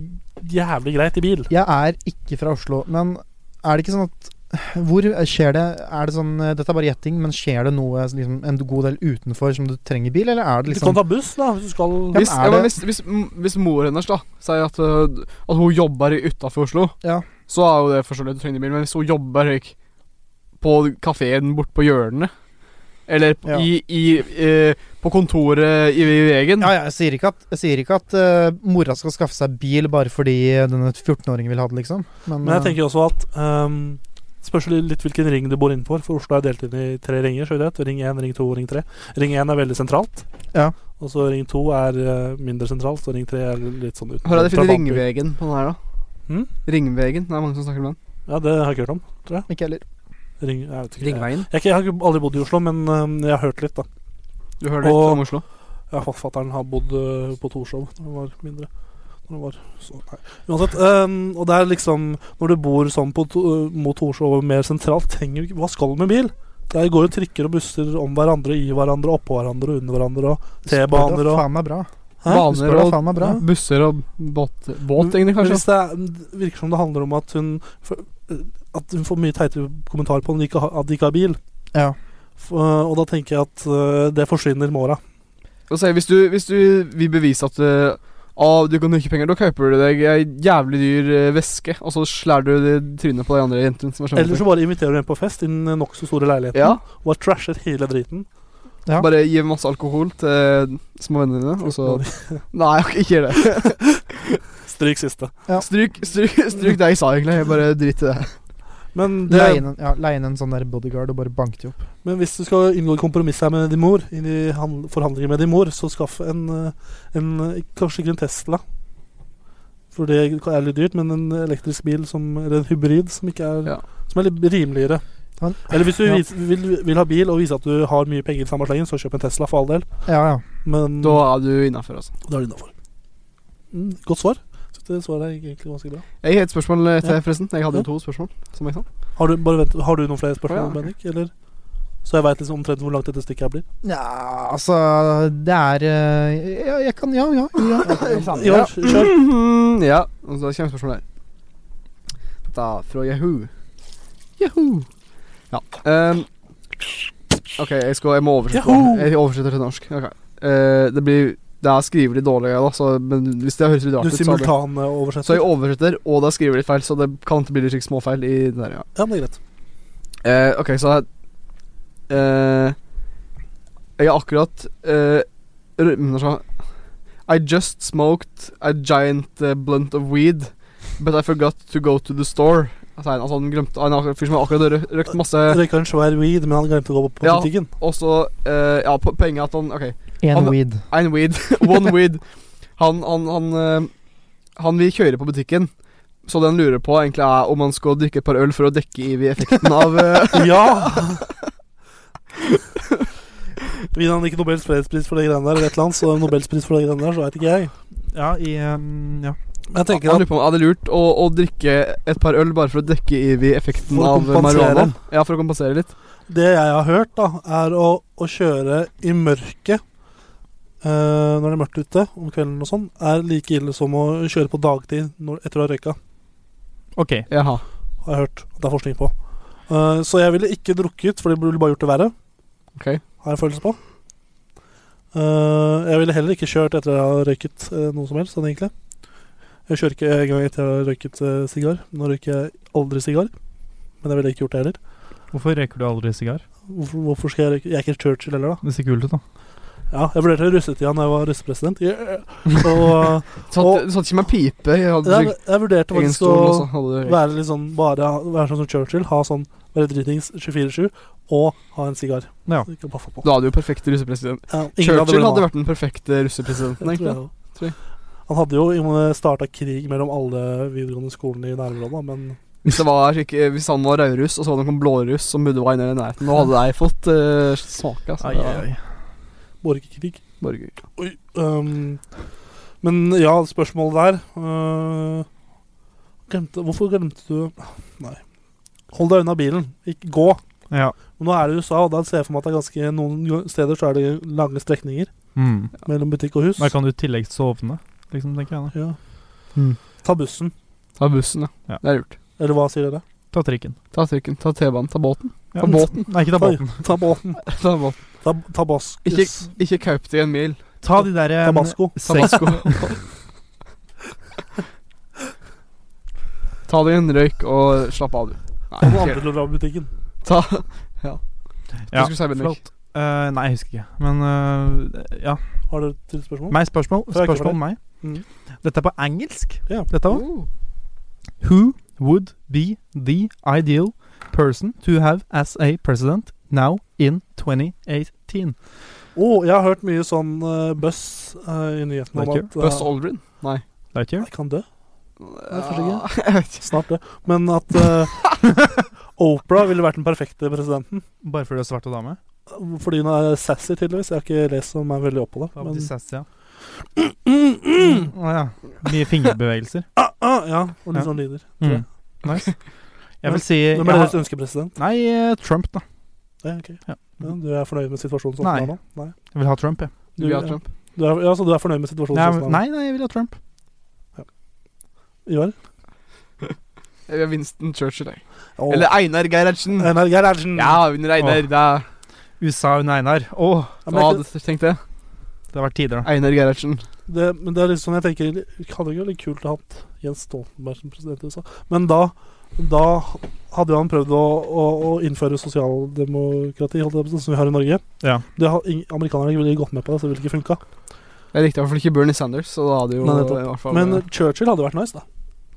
jævlig greit i bil.
Jeg er ikke fra Oslo, men er det ikke sånn at Hvor skjer det Er det sånn eh, Dette er bare gjetting, men skjer det noe liksom, en god del utenfor som du trenger bil, eller er det
Du kan
liksom
ta buss, da, hvis du skal
Ja.
Hvis,
er
sånn. ja, men
det-
hvis, hvis, hvis mor hennes da sier at, øh, at hun jobber utafor Oslo,
Ja.
så er jo det forståelig at du trenger bil. Men hvis hun jobber like, på kafeen bort på hjørnet, eller
Ja.
i, i, eh, på kontoret i, i veien
Mm.
ja, ja, jeg sier ikke at, jeg sier ikke at eh, mora skal skaffe seg bil bare fordi eh, denne 14-åringen vil ha det, liksom. Men,
Men jeg
eh,
tenker også at ehm, Spørs det litt hvilken ring du bor innenfor, for Oslo er delt inn i tre ringer. Så vidt jeg vet. Ring 1, ring 2 og ring 3. Ring 1 er veldig sentralt.
Ja.
Og så ring 2 er eh, mindre sentralt, og ring 3 er litt sånn utenfor.
Hvor er det
fra
fint
Bambu.
Ringvegen på den her, da?
Hm?
Ringvegen? Det er mange som snakker om den.
Ja, det har jeg ikke hørt om.
eh, ikke heller.
Ring, jeg, vet ikke, jeg,
Ringveien?
jeg, jeg har ikke aldri bodd i Oslo, men ehm, jeg har hørt litt, da.
Du hører litt
Og-
om Oslo?
Ja, forfatteren har bodd øh, på Torshov da han var mindre. Når han var så, nei. Uansett. øhm, og det er liksom Når du bor sånn på, to- øh, mot Torshov og mer sentralt, trenger du ikke Hva skal du med bil? Der går jo trikker og busser om hverandre, i hverandre, oppå hverandre og under hverandre. Og T-baner og
Faen meg bra.
Hæ? Mm,
Du spør
Baner
da
og
faen meg bra.
busser og båt, båt egentlig,
Men
kanskje?
Hvis det er, det virker som det handler om at hun for- øh, At hun får mye teitere kommentarer på når de ikke har- at de ikke har bil.
Ja.
F- øh, og da tenker jeg at øh, det forsvinner med åra.
Og så, hvis, du, hvis du vil bevise at eh, ah, du kan ikke penger, da kjøper du deg ei jævlig dyr eh, veske, og så slår du det trynet på de andre jentene som
Eller
er skjønne.
så bare inviterer du henne på fest i den nokså store leiligheten
Ja,
og bare trasher hele driten.
Ja.
Bare gi masse alkohol til små vennene dine, og så Nei, ok, ikke gjør det.
Stryk siste.
Stryk, stryk, stryk det jeg sa, egentlig. Jeg bare drit i det.
Men,
Leie
det,
inn, en- ja, leie inn en sånn der bodyguard og bare banke de opp.
men hvis du skal inngå i kompromiss her med din mor, inn i han- forhandlinger med din mor, så skaff en, eh, en eh, Kanskje ikke en Tesla, for det er litt dyrt, men en elektrisk bil som Eller en hybrid som ikke er
Ja.
Som er litt rimeligere.
Han-
Eller hvis du
Ja.
vis, vil, vil ha bil og vise at du har mye penger, i samme slengen, så kjøp en Tesla, for all del.
Ja, ja.
Men
Da er du innafor, altså.
da er det innafor. Mm, godt svar. Så det svaret er egentlig ganske bra.
Jeg har et spørsmål eh, til,
Ja.
forresten. Jeg hadde
Ja.
jo to spørsmål, som jeg sa.
Har du, bare vent, har du noen flere spørsmål,
Å, ja.
Bendik? Eller? Så jeg veit liksom omtrent hvor langt dette stikket her blir.
Nja, altså Det er eh, ja, Jeg kan Ja, ja. ja.
Ja, kjør.
Mhm, Ja, og så kommer spørsmålet her. Dette er fra Yahoo. Yahoo. Ja. ehm, OK, jeg, skal, jeg må oversette
Yahoo!
Jeg oversetter til norsk. Ok. Eh, det blir Det er skrivelig dårlig, da, så, men hvis det høres litt rart
Du
ut, så, er det- så
simultanoversetter?
jeg oversetter, og det er skrivelig feil, så det kan ikke bli litt slik småfeil i den der, ja.
Ja, men det er greit.
Eh, ok, så her eh, Jeg har akkurat eh, r- men altså, I just smoked a giant eh, blunt of weed But I forgot to go to the store Altså, han- altså han glemte Han er akkurat- fyr som har akkurat rø- røkt masse
Røyka en svær weed, men han glemte å gå på
Ja.
butikken.
Og så eh, Ja, po- poenget er at han Ok,
En
Han-
weed.
en weed One weed Han, han, han eh, Han vil kjøre på butikken Så den lurer på egentlig er Om han skal drikke et par øl For å dekke i effekten av eh,
Ja! Vinner han ikke Nobels fredspris for det greiene der, eller et eller annet, så Nobelspris for det greiene der, så veit ikke jeg.
Ja, i um, Ja.
Men jeg tenker
Han
at
lurer på om er det lurt å, å drikke et par øl bare for å dekke i effekten
For å
av
kompensere.
marihuana? Ja, for å kompensere litt.
det jeg har hørt, da, er å, å kjøre i mørket eh, når det er mørkt ute om kvelden og sånn, er like ille som å kjøre på dagtid når, etter å ha røyka.
Ok.
Jaha.
Har jeg hørt. Det er forskning på. Eh, så jeg ville ikke drukket, for det ville bare gjort det verre.
Ok.
har jeg en følelse på. Eh, jeg ville heller ikke kjørt etter jeg har røyket eh, noe som helst, sånn egentlig. Jeg kjører ikke engang etter jeg har røyket eh, sigar. Nå røyker jeg aldri sigar, men jeg ville ikke gjort det heller.
Hvorfor røyker du aldri sigar?
Hvorfor, hvorfor skal jeg røyke Jeg er ikke Churchill heller, da.
Det ser kult ut, da.
Ja, jeg vurderte russetida da jeg var russepresident. Yeah. Og,
Satt, du satt ikke med pipe? Jeg, hadde
jeg,
sikkert
jeg vurderte
egen
faktisk
stol også,
å
hadde du-
være litt sånn bare Være sånn som Churchill, ha sånn være dritings 24-7 og ha en sigar.
Ja.
Så ikke baffa på.
Du hadde jo perfekt russepresident.
Ja, ingen hadde
Churchill
vel
hadde
noe.
vært den perfekte russepresidenten,
Jeg tror jeg
egentlig.
også.
Tror jeg.
Han hadde jo starta krig mellom alle videregående skolene i nærområdet, men
Hvis, det var, ikke- hvis han var rødruss, og så hadde han kommet blåruss som burde være nede i nærheten, da hadde jeg fått uh, smake. Altså.
Ai, ai, ai.
borgerkrig
Borger.
Oi. ehm, men ja, spørsmålet der eh, glemte, Hvorfor glemte du Nei. Hold deg unna bilen. Ikke gå.
Ja.
Men nå er det i USA, og da ser jeg for meg at det er ganske noen steder så er det lange strekninger
Mm.
mellom butikk og hus.
Da kan du i tillegg sovne, liksom, tenker jeg da.
Ja.
Hmm.
Mm.
Ta bussen.
Ta bussen, ja.
Ja.
Det er lurt.
Eller hva sier dere?
Ta trikken.
Ta trikken, ta T-banen, ta båten.
Ja.
Ta båten.
Nei, ikke ta båten.
Ta båten.
Ta båten.
Ta, tabaskus.
Ikke, ikke kaup deg en mil.
Ta de der eh,
Tabasco.
seks-
Ta deg en røyk og slapp av, du.
Ta
Nei,
noen andre
ok.
til å dra i butikken.
Ta
Ja,
Hva skulle du si, Bendik?
flott. Eh, nei, jeg husker ikke. Men eh, ja.
Har dere et til spørsmål?
Meg spørsmål.
Får jeg ikke
Spørsmål om meg.
Mm.
Dette er på engelsk.
Ja.
Dette også.
Oh.
Who would be the ideal person to have as a president now in 2018?
Å, jeg har hørt mye sånn eh, buzz eh, i nyhetene om
Like
at
Buzz
eh,
Aldrin? Nei.
Vet ikke.
Jeg kan dø.
Ja.
Snart det. Men at eh, Oprah ville vært den perfekte presidenten.
Bare fordi du er svart og dame?
Fordi hun er sassy, tydeligvis. Jeg har ikke lest om meg veldig opp på det.
Da blir
Men,
de sassy, ja. Å ja. Mye fingerbevegelser.
ah, ah, ja, og litt
Ja.
sånn lyder. tror jeg.
Mm. Nice. Jeg vil si jeg
Hvem er
har-
deres ønskepresident?
Nei, eh, Trump, da.
Ja, ok.
Ja.
Ja, du er fornøyd med situasjonen sånn som
Nei.
den er nå? Nei.
Jeg vil ha Trump, jeg.
Du vil ha Trump?
Du er, ja, så du er fornøyd med situasjonen
Nei,
sånn som den er nå?
nei, nei, jeg vil ha Trump.
Ivar?
Jeg vil ha Winston Churchill, jeg.
Åh.
Eller Einar Gerhardsen.
Einar Gerhardsen.
Ja, under Einar. Da,
USA under Einar. Å,
Ja,
da
men, jeg-
hadde jeg tenkt det.
det har vært tider, da.
Einar Gerhardsen.
det, men det er litt sånn jeg tenker Det hadde ikke vært litt kult å ha hatt Jens Stoltenberg som president i USA. Men da, da hadde jo han prøvd å, å, å innføre sosialdemokrati, holdt jeg på å si, som vi har i Norge.
Ja.
Det har, ing- amerikanerne ville gått med på det, så det ville ikke funka.
Jeg likte i hvert fall ikke Bernie Sanders, så da hadde jo
Nei,
i
nettopp.
hvert fall
Men
eh,
Churchill hadde vært nice, da.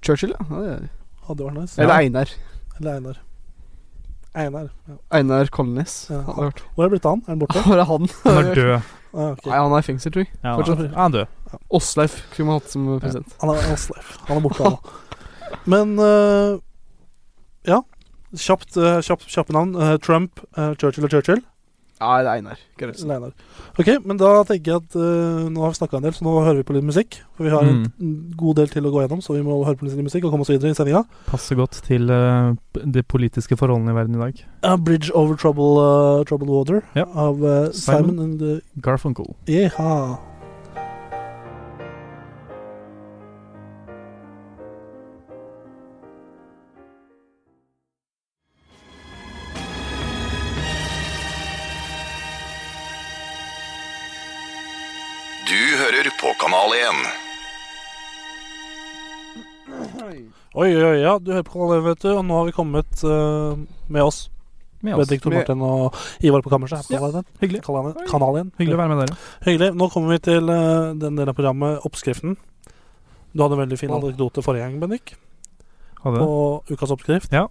Churchill, ja. ja. det er-
Hadde vært nice.
Eller Einar.
Eller Einar. Einar. Ja.
Einar Kolnes.
Ja.
Hadde vært.
Hvor er det blitt av han? Er han borte?
Hvor er han?
Han er død.
Ah, ok.
Nei, han er i fengsel, tror jeg.
Ja, han er-
Fortsatt.
han er død.
Åsleif kunne man hatt som president.
Han er, han er sleif. Han er borte, han da. Men eh, ja. Kjapt, eh, kjapp, kjappe navn. Eh, Trump, eh, Churchill og Churchill.
Nei, det er Einar Gerhardsen.
Eller Einar. Ok, men da tenker jeg at eh, nå har vi snakka en del, så nå hører vi på litt musikk. For vi har en
Mm.
t- god del til å gå gjennom, så vi må høre på litt musikk og komme oss videre i sendinga.
Passer godt til eh, de politiske forholdene i verden i dag.
Eh, 'Bridge Over Trouble, eh, Troubled Water'
Ja.
av eh, Simon,
Simon.
and the E
Garfunkel.
Yeha.
Du hører på Kanal 1.
Oi, oi, oi, ja. Du hører på Kanal 1, vet du, og nå har vi kommet eh, med oss.
Med oss.
Bendik, Tor Martin og Ivar på kammerset. her på Kanal 1.
hyggelig.
Kanal 1. Kanal 1.
Hyggelig å være med dere.
Hyggelig. Nå kommer vi til eh, den delen av programmet Oppskriften. Du hadde en veldig fin
Wow.
anekdote forrige gang, Bendik,
Ha det.
på ukas oppskrift.
Ja.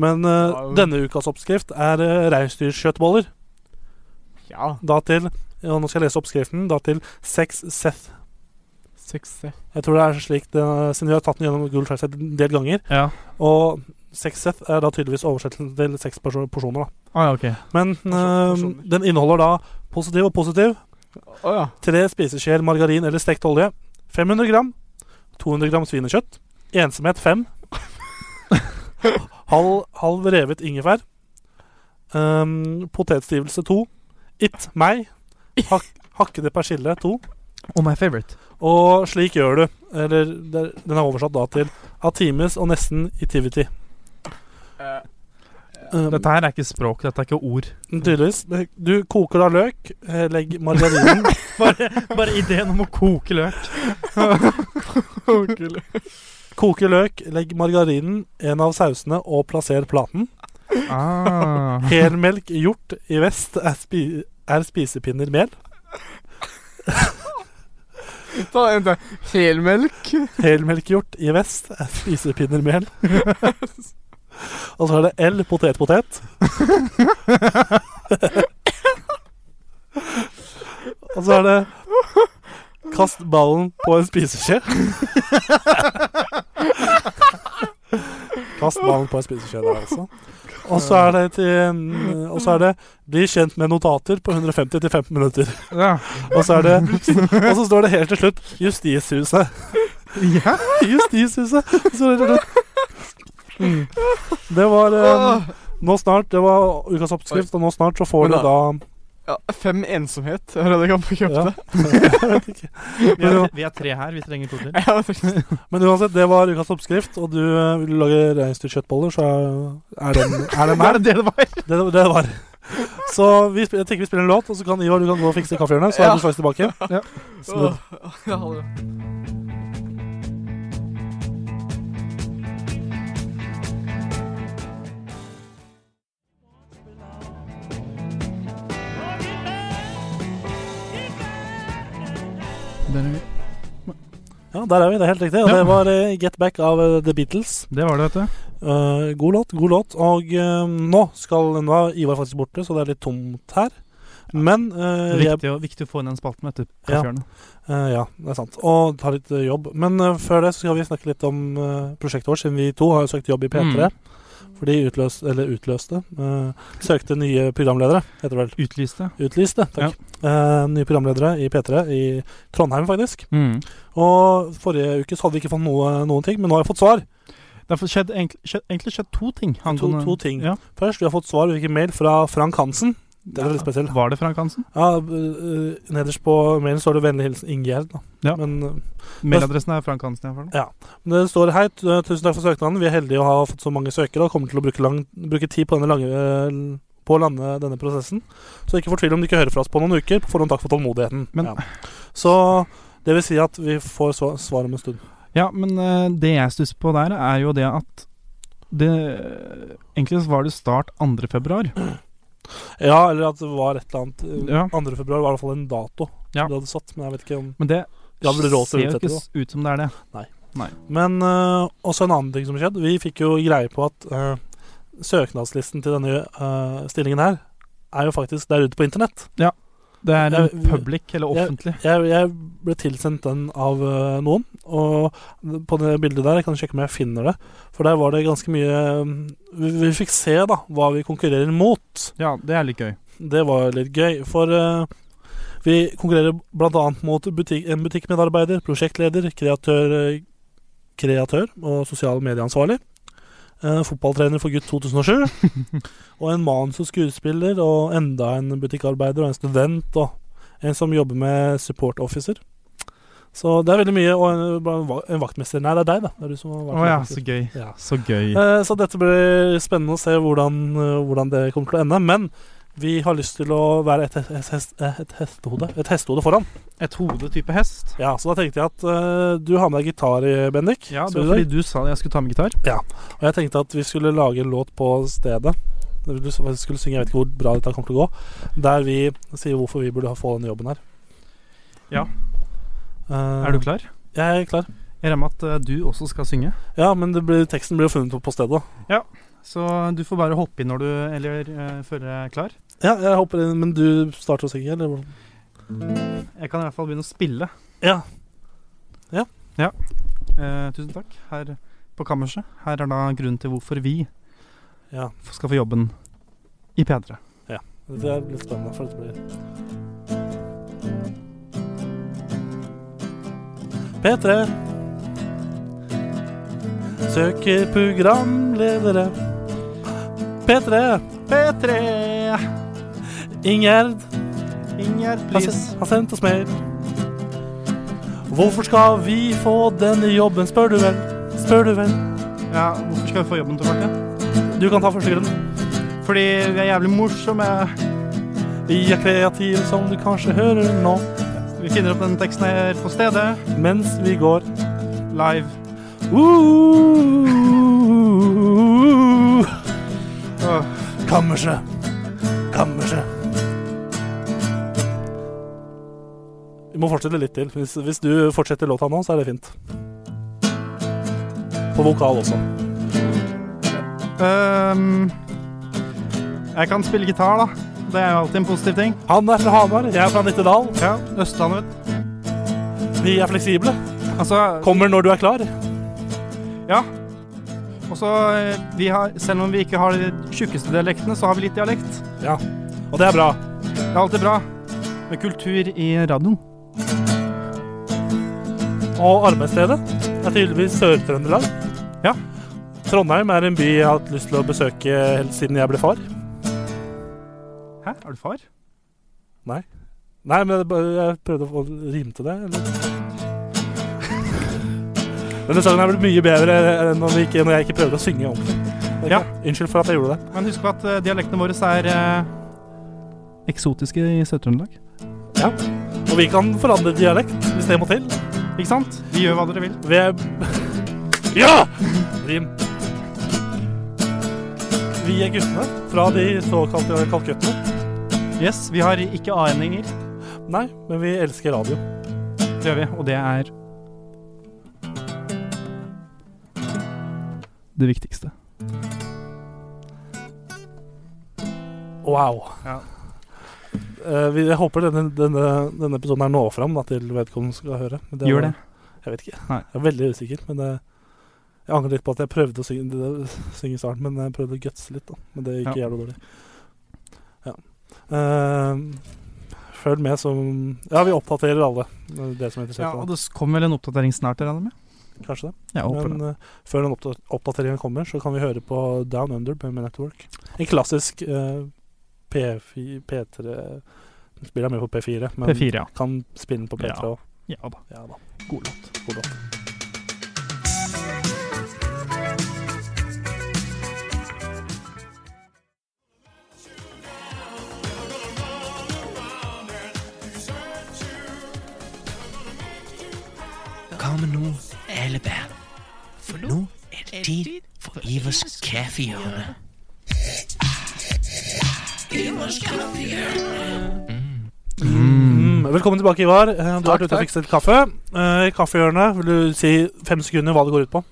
Men eh,
Wow.
denne ukas oppskrift er uh, reinsdyrkjøttboller.
Ja.
Da til ja, Nå skal jeg lese oppskriften. Da til Sex Seth.
Suksess.
Jeg tror det er slik det, Siden vi har tatt den gjennom Google Translate en del ganger.
Ja.
Og Sex Seth er da tydeligvis oversettelsen til seks perso- porsjoner, da.
Ah, ja, ok.
Men eh,
porsjoner.
den inneholder da positiv og positiv.
Å ja.
Tre spiseskjeer margarin eller stekt olje. 500 gram. 200 gram svinekjøtt. Ensomhet 5. halv, halv revet ingefær. Um, potetstivelse 2. It meg. Hak, hakkede persille 2.
Og my favorite.
Og slik gjør du. Eller det- den er oversatt da til Atimes og nesten itivity. Um,
Dette her er ikke språk, dette er ikke ord.
tydeligvis. Du koker da løk. eh, Legg margarinen
Bare, bare ideen om å koke løk.
Koke løk, legg margarinen, en av sausene og plasser platen.
Ah.
Helmelk hjort i vest er, spi er spisepinner mel.
Ta en til. Helmelk.
Helmelkhjort i vest. eh, Spisepinnermel. Og så er det L potetpotet. Og så er det Kast ballen på en spiseskje. Kast ballen på en spiseskje der, altså. Og så er det til mm, Og så er det Bli kjent med notater på 150 til 15 minutter.
Ja.
Og så er det Og så står det helt til slutt Justishuset.
Ja?
Justishuset. Så er det til slutt. Det var eh, Nå snart Det var ukas oppskrift, og nå snart så får
Men
du
da-
da
Ja, fem ensomhet. Jeg hører jeg kan få kjøpt
Ja.
det.
Vi er, vi er tre her, vi trenger to til.
Ja, faktisk.
Men uansett, det var ukas oppskrift, og du eh, vil lage reinsdyrkjøttboller, så er- er den er den der.
Er det det det var?
Det det det var. Så vi, sp- jeg tenker vi spiller en låt, og så kan Ivar du kan gå og fikse kaffehjørnet. Så er
Ja.
du straks tilbake.
Ja.
Smooth.
Åh, ja, ha det.
Der er vi.
Ja, der er vi. Det er helt riktig. Og
Ja.
det var eh, Get Back av eh, The Beatles.
Det var det, vet du.
Eh, god låt, god låt. Og eh, nå skal nå er Ivar faktisk borte, så det er litt tomt her. Men eh, jeg
Viktig, å, viktig å få inn den spalten etter kaffehjørnet.
Eh, ja, det er sant. Og ta litt eh, jobb. Men eh, før det så skal vi snakke litt om eh, prosjektet vårt, siden vi to har jo søkt jobb i P3. For de utløs, eller utløste eh, søkte nye programledere, heter det vel.
Utlyste.
Utlyste, takk. Eh, nye programledere i P3 i Trondheim, faktisk.
Mm.
Og forrige uke så hadde vi ikke fått noe, noen ting, men nå har jeg fått svar.
Det har skjedd, egentlig, skjedd, egentlig skjedd to ting.
To,
angående-
to ting.
Ja.
Først, vi har fått svar, vi fikk en mail fra Frank Hansen. Det er veldig spesielt.
Var det Frank Hansen?
Ja, eh, nederst på mailen står det 'Vennlig hilsen Ingjerd'. da.
Ja.
Men eh,
Mailadressen er Frank Hansen. i hvert fall.
Ja. Men det står hei, tu- tusen takk for søknaden. Vi er heldige å ha fått så mange søkere og kommer til å bruke, lang, bruke tid på, denne lange, eh, på å lande denne prosessen. Så ikke fortvil om du ikke hører fra oss på noen uker. På forhånd takk for tålmodigheten.
Men-
ja. Så det vil si at vi får sva- svar om en stund.
Ja, men eh, det jeg stusser på der, er jo det at det Egentlig så var det start 2. februar.
Ja, eller at det var et eller annet eh,
Ja.
2. februar var i hvert fall en dato
Ja.
du hadde satt. Men jeg vet ikke om
Men det
Ja, det ble råd til
ser
å
jo
utsette
ikke
det,
s- ut som det er det.
Nei.
Nei.
Men eh, også en annen ting som skjedde. Vi fikk jo greie på at eh, søknadslisten til denne eh, stillingen her er jo faktisk der ute på internett.
Det er
Jeg-
en public, eller offentlig.
Jeg, jeg ble tilsendt den av eh, noen, og på det bildet der jeg kan sjekke om jeg finner det. For der var det ganske mye eh, Vi, vi fikk se da hva vi konkurrerer mot.
Ja, det er litt gøy.
Det var litt gøy, for eh, vi konkurrerer bl.a. mot butikk, en butikkmedarbeider, prosjektleder, kreatør, eh, kreatør og sosial medieansvarlig. eh, fotballtrener for gutt 2007. og en manus- og skuespiller, og enda en butikkarbeider og en student. Og en som jobber med support officer. Så det er veldig mye. Og en, bare en va- en vaktmester. Nei, det er deg, da. Det er du som har
Å
vært
ja, så
vaktmester.
gøy.
Ja.
Så gøy.
Eh, Så dette blir spennende å se hvordan, eh, hvordan det kommer til å ende. Men vi har lyst til å være et, et, hest, et hestehode Et hestehode foran.
Et hodetype hest.
Ja, Så da tenkte jeg at eh, du har med deg gitar, eh, Bendik.
Ja, det
Skal
var
du det?
fordi du sa jeg skulle ta med gitar.
ja. Og jeg tenkte at vi skulle lage en låt på stedet. Du skulle synge, Jeg vet ikke hvor bra dette kommer til å gå. Der vi sier hvorfor vi burde ha- få denne jobben her.
Ja.
Eh,
Er du klar?
Jeg er klar.
Jeg regner med at eh, du også skal synge.
Ja, men det blir, teksten blir jo funnet opp på stedet.
Så du får bare hoppe inn når du Eller eh, føler deg klar.
Ja, jeg håper det, Men du starter å synge, eller? hvordan?
Jeg kan i hvert fall begynne å spille.
Ja. Ja.
Ja. Eh, tusen takk. Her på kammerset. Her er da grunnen til hvorfor vi
Ja.
f- skal få jobben i P3.
Det er litt spennende, for dette blir P3 søker programledere. P3
P3!
Ingjerd
Ingjerd,
har
please.
sendt, har sendt oss mail. Hvorfor skal vi få denne jobben, spør du vel? Spør du vel?
Ja, hvorfor skal vi få jobben tilbake?
Du kan ta første grunn.
Fordi vi er jævlig morsomme.
Vi er kreative, som du kanskje hører nå,
Vi finner opp den teksten her på stedet.
mens vi går
Live.
Ooh.
Åh,
Kammerset. Kammerset. Du må fortsette litt til. Hvis, hvis du fortsetter låta nå, så er det fint. På vokal også.
Ehm, jeg kan spille gitar, da. Det er jo alltid en positiv ting.
Han er fra Hamar, jeg er fra Nittedal.
Ja, Østlandet, vet
du. Vi er fleksible.
Altså,
Kommer når du er klar.
Ja. Og så eh, vi har, Selv om vi ikke har de tjukkeste dialektene, så har vi litt dialekt.
Ja, Og det er bra.
Det er alltid bra. Med kultur i radioen.
Og arbeidsstedet er tydeligvis Sør-Trøndelag.
Ja.
Trondheim er en by jeg har hatt lyst til å besøke helt siden jeg ble far.
Hæ, er du far?
Nei. Nei, men det er bare- jeg prøvde å få rim til det. Eller? Denne sangen er blitt mye bedre enn når, vi ikke, når jeg ikke prøvde å synge ordentlig.
Ja.
Unnskyld for at jeg gjorde det.
Men husk på at eh, dialektene våre er eh, eksotiske i Sør-Trøndelag.
Ja. Og vi kan forandre dialekt hvis det må til.
Ikke sant? Vi gjør hva dere vil.
Vi er Ja! Rim. Vi er guttene fra de såkalte Kalkuttene.
Yes, vi har ikke a-endinger.
Nei, men vi elsker radio.
Det gjør vi, og det er Det viktigste.
Wow. Eh, vi, jeg håper denne, denne, denne episoden her når fram da, til vedkommende skal høre. Men
Gjør
var-
det?
Jeg vet ikke.
Nei.
Jeg er veldig usikker. Men det, jeg angrer litt på at jeg prøvde å synge, det- synge i starten, men jeg prøvde å gutse litt. da Men det gikk
Ja.
jævlig dårlig. Ja. Eh, følg med som Ja, vi oppdaterer alle. eh, Dere som er interessert.
Ja,
i
og
det.
det kommer vel en oppdatering snart, jeg regner jeg med?
Kanskje det.
Jeg håper
men eh, før den oppda- oppdateringen kommer, så kan vi høre på Down Under med med Network. En klassisk eh, P4, P3 Spiller jeg mye på P4, men
P4, ja.
kan spille den på P3
Ja.
òg.
Ja da.
Ja da.
God låt.
God låt.
Hva med nå, alle barn? For nå er det tid for Ivers kaffehjørne.
Mm. Velkommen tilbake, Ivar. Eh, Du har vært ute og
takk.
fikset kaffe. Eh, I kaffehjørnet, vil du si fem sekunder hva det går ut på?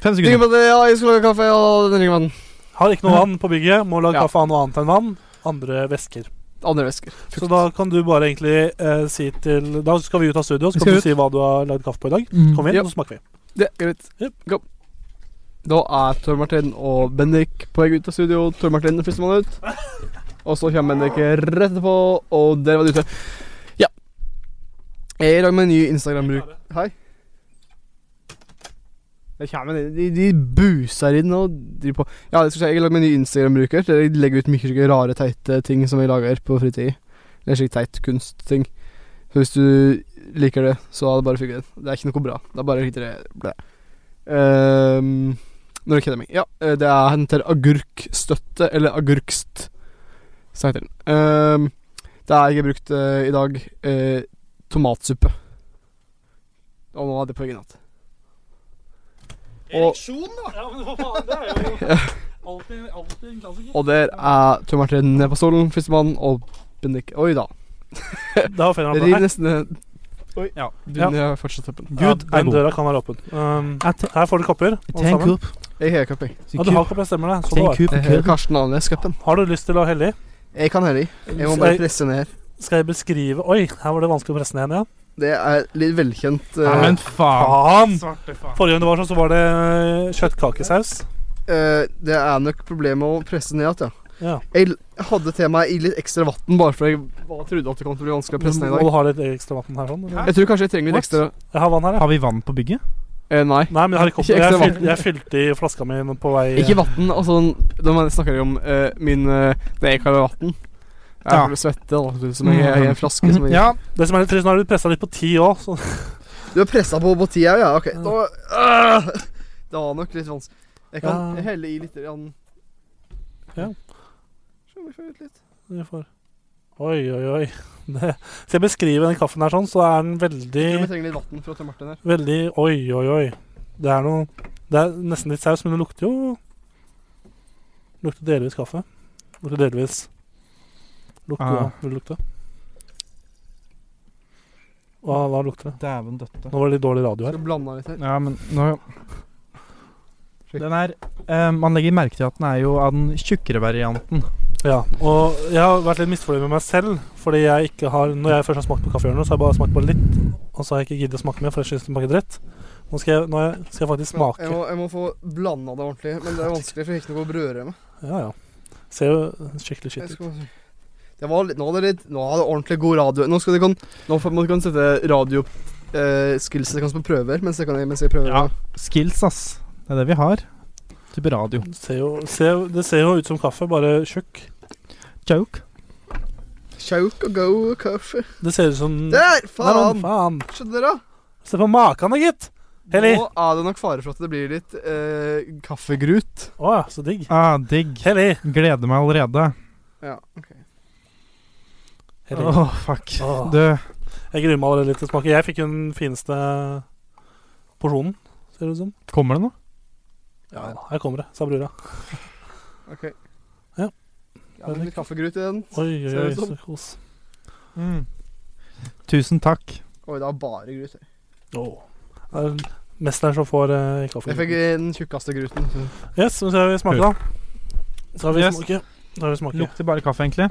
Fem
Ringer på det, ja, jeg skal lage kaffe, og den ringer vann.
Har ikke noe vann på bygget, må lage
Ja.
kaffe av noe annet enn vann. Andre væsker.
Andre væsker.
Så da kan du bare egentlig eh, si til Da skal vi ut av studio, så
Vi
kan
skal
du
ut.
si hva du har lagd kaffe på i dag.
Mm.
Kom inn,
Ja.
og så smaker vi.
Det er greit. Go. Da er Tor Martin og Bendik på vei ut av studio. Tor Martin er førstemann ut. Og så kommer Bendik rett etterpå, og der var det ute. Ja. Jeg er i dag med en ny Instagram-bruk. Hei. Det kommer en- de, de buser inn og driver på. Ja, det skal jeg si, jeg lager meg en ny Instagram-bruker. Der jeg legger ut mye slike rare, teite ting som jeg lager på fritid. Eller slik teit kunstting. Så hvis du liker det, så er det bare å funke. Det er ikke noe bra. Det er bare litt blæ. Ehm, når jeg kjeder meg. Ja, eh, det er henter agurkstøtte, eller agurkst, som heter den. Ehm, det er jeg har brukt eh, i dag eh, tomatsuppe. Og nå er det på egen hatt. Og
Ereksjon, da! Ja, men hva faen, det er jo
Ja.
alltid, alltid en klassiker.
Og der er Tor Martin nede på stolen, førstemann, og Bendik Oi da.
Det var feil navn.
Rir
Hei.
nesten ned. Oi.
Ja.
Du
Ja.
ned fortsatt oppen.
Ja, den døra kan være åpen. Um, her får du kopper. alle
tar en
sammen.
Jeg har cup, jeg.
Ja, du har kopp, jeg stemmer det. Så
Jeg
bra.
har Karsten Alnes-cupen.
Har du lyst til å helle i?
Jeg kan helle i. Jeg må bare presse ned her.
Skal jeg beskrive Oi, her var det vanskelig å presse ned igjen.
Det er litt velkjent eh,
faen!
Svarte faen.
Forrige gang det var sånn, så var det eh, kjøttkakesaus.
eh, Det er nok problemet med å presse ned igjen, ja.
Ja.
Jeg l- hadde til meg i litt ekstra vann, bare fordi jeg var- trodde at det kom til å bli vanskelig å presse ned i
Må du
dag.
ha litt ekstra vann her? sånn? eller?
Jeg tror kanskje jeg trenger litt ekstra
Jeg har vann her,
Har vi vann på bygget?
eh, Nei.
Nei, men jeg har ikke opp-
Ikke ekstra
jeg, fylte,
vann.
jeg fylte i flaska mi på vei
Ikke vann, altså Da snakker jeg om eh, min eh, Det jeg kaller vann. Jeg
Ja.
får svette, da. Som jeg, jeg er en flaske
Mm-hmm.
som jeg
Ja. Det som er litt trist, nå har du pressa litt på ti òg, så
Du har pressa på på tida, ja? Ok. Nå, Ah! det var nok litt vanskelig. Jeg kan
Ja.
helle i litt grann.
Ja.
Se om jeg får ut litt.
vi får Oi, oi, oi. Det. Skal jeg beskrive den kaffen her sånn, så er den veldig
Jeg tror vi trenger litt vann fra Tor Martin her.
Veldig Oi, oi, oi. Det er noe Det er nesten litt saus, men det lukter jo Lukter delvis kaffe. Lukter delvis Lukter,
Ah.
ja. Vil det lukte? Hva, hva lukter det?
Dæven døtte.
Nå var det litt dårlig radio her.
Skal blande litt her.
Ja, men nå Den er eh, Man legger merke til at den er jo av den tjukkere varianten.
Ja, og jeg har vært litt misfornøyd med meg selv. Fordi jeg ikke har Når jeg først har smakt på kaffehjørnet, så har jeg bare smakt på litt. Og så har jeg ikke giddet å smake mer, for jeg syns den smaker dritt. Nå skal jeg, nå er- skal jeg faktisk smake.
Jeg må, jeg må få blanda det ordentlig, men det er vanskelig, for jeg har ikke noe brødreme.
Ja, ja. Ser jo skikkelig
Jeg
skitt ut.
skal bare- Det var litt, nå hadde litt Nå hadde ordentlig god radio. Nå skal du kan, Nå får- må du kan sette radio eh, skillset deres på prøver, mens jeg, kan, mens jeg prøver. Ja.
Skills, ass. Det er det vi har. Type radio.
Ser jo, ser, jo- det ser jo ut som kaffe, bare tjukk.
Joke.
Choke and go kaffe.
Det ser ut som
Der!
Nei, men
Faen!
faen.
Skjønner dere?
Se på maken, da, gitt! Helly.
Nå er det nok fare for at det blir litt eh, kaffegrut.
Å ja, så digg.
Ah, digg.
Hellig.
Gleder meg allerede.
Ja, ok
Hellig.
Åh, fuck.
Åh.
Du.
Jeg gruer meg allerede litt til å smake. Jeg fikk jo den fineste porsjonen, ser det ut som.
Kommer det noe?
Ja, da, her kommer det, sa brura.
Ok.
Ja.
Ja, det er litt kaffegrut i den.
Oi, oi,
ser
oi,
det ut som.
så kos.
Mm. Tusen takk.
Oi, det er bare grut her.
Åh. Det er mesteren som får eh, kaffe.
Jeg fikk eh, den tjukkeste gruten.
Yes, men så har vi smake, da. Så har vi
Yes.
smake. Da har vi smake.
Lukter bare kaffe, egentlig.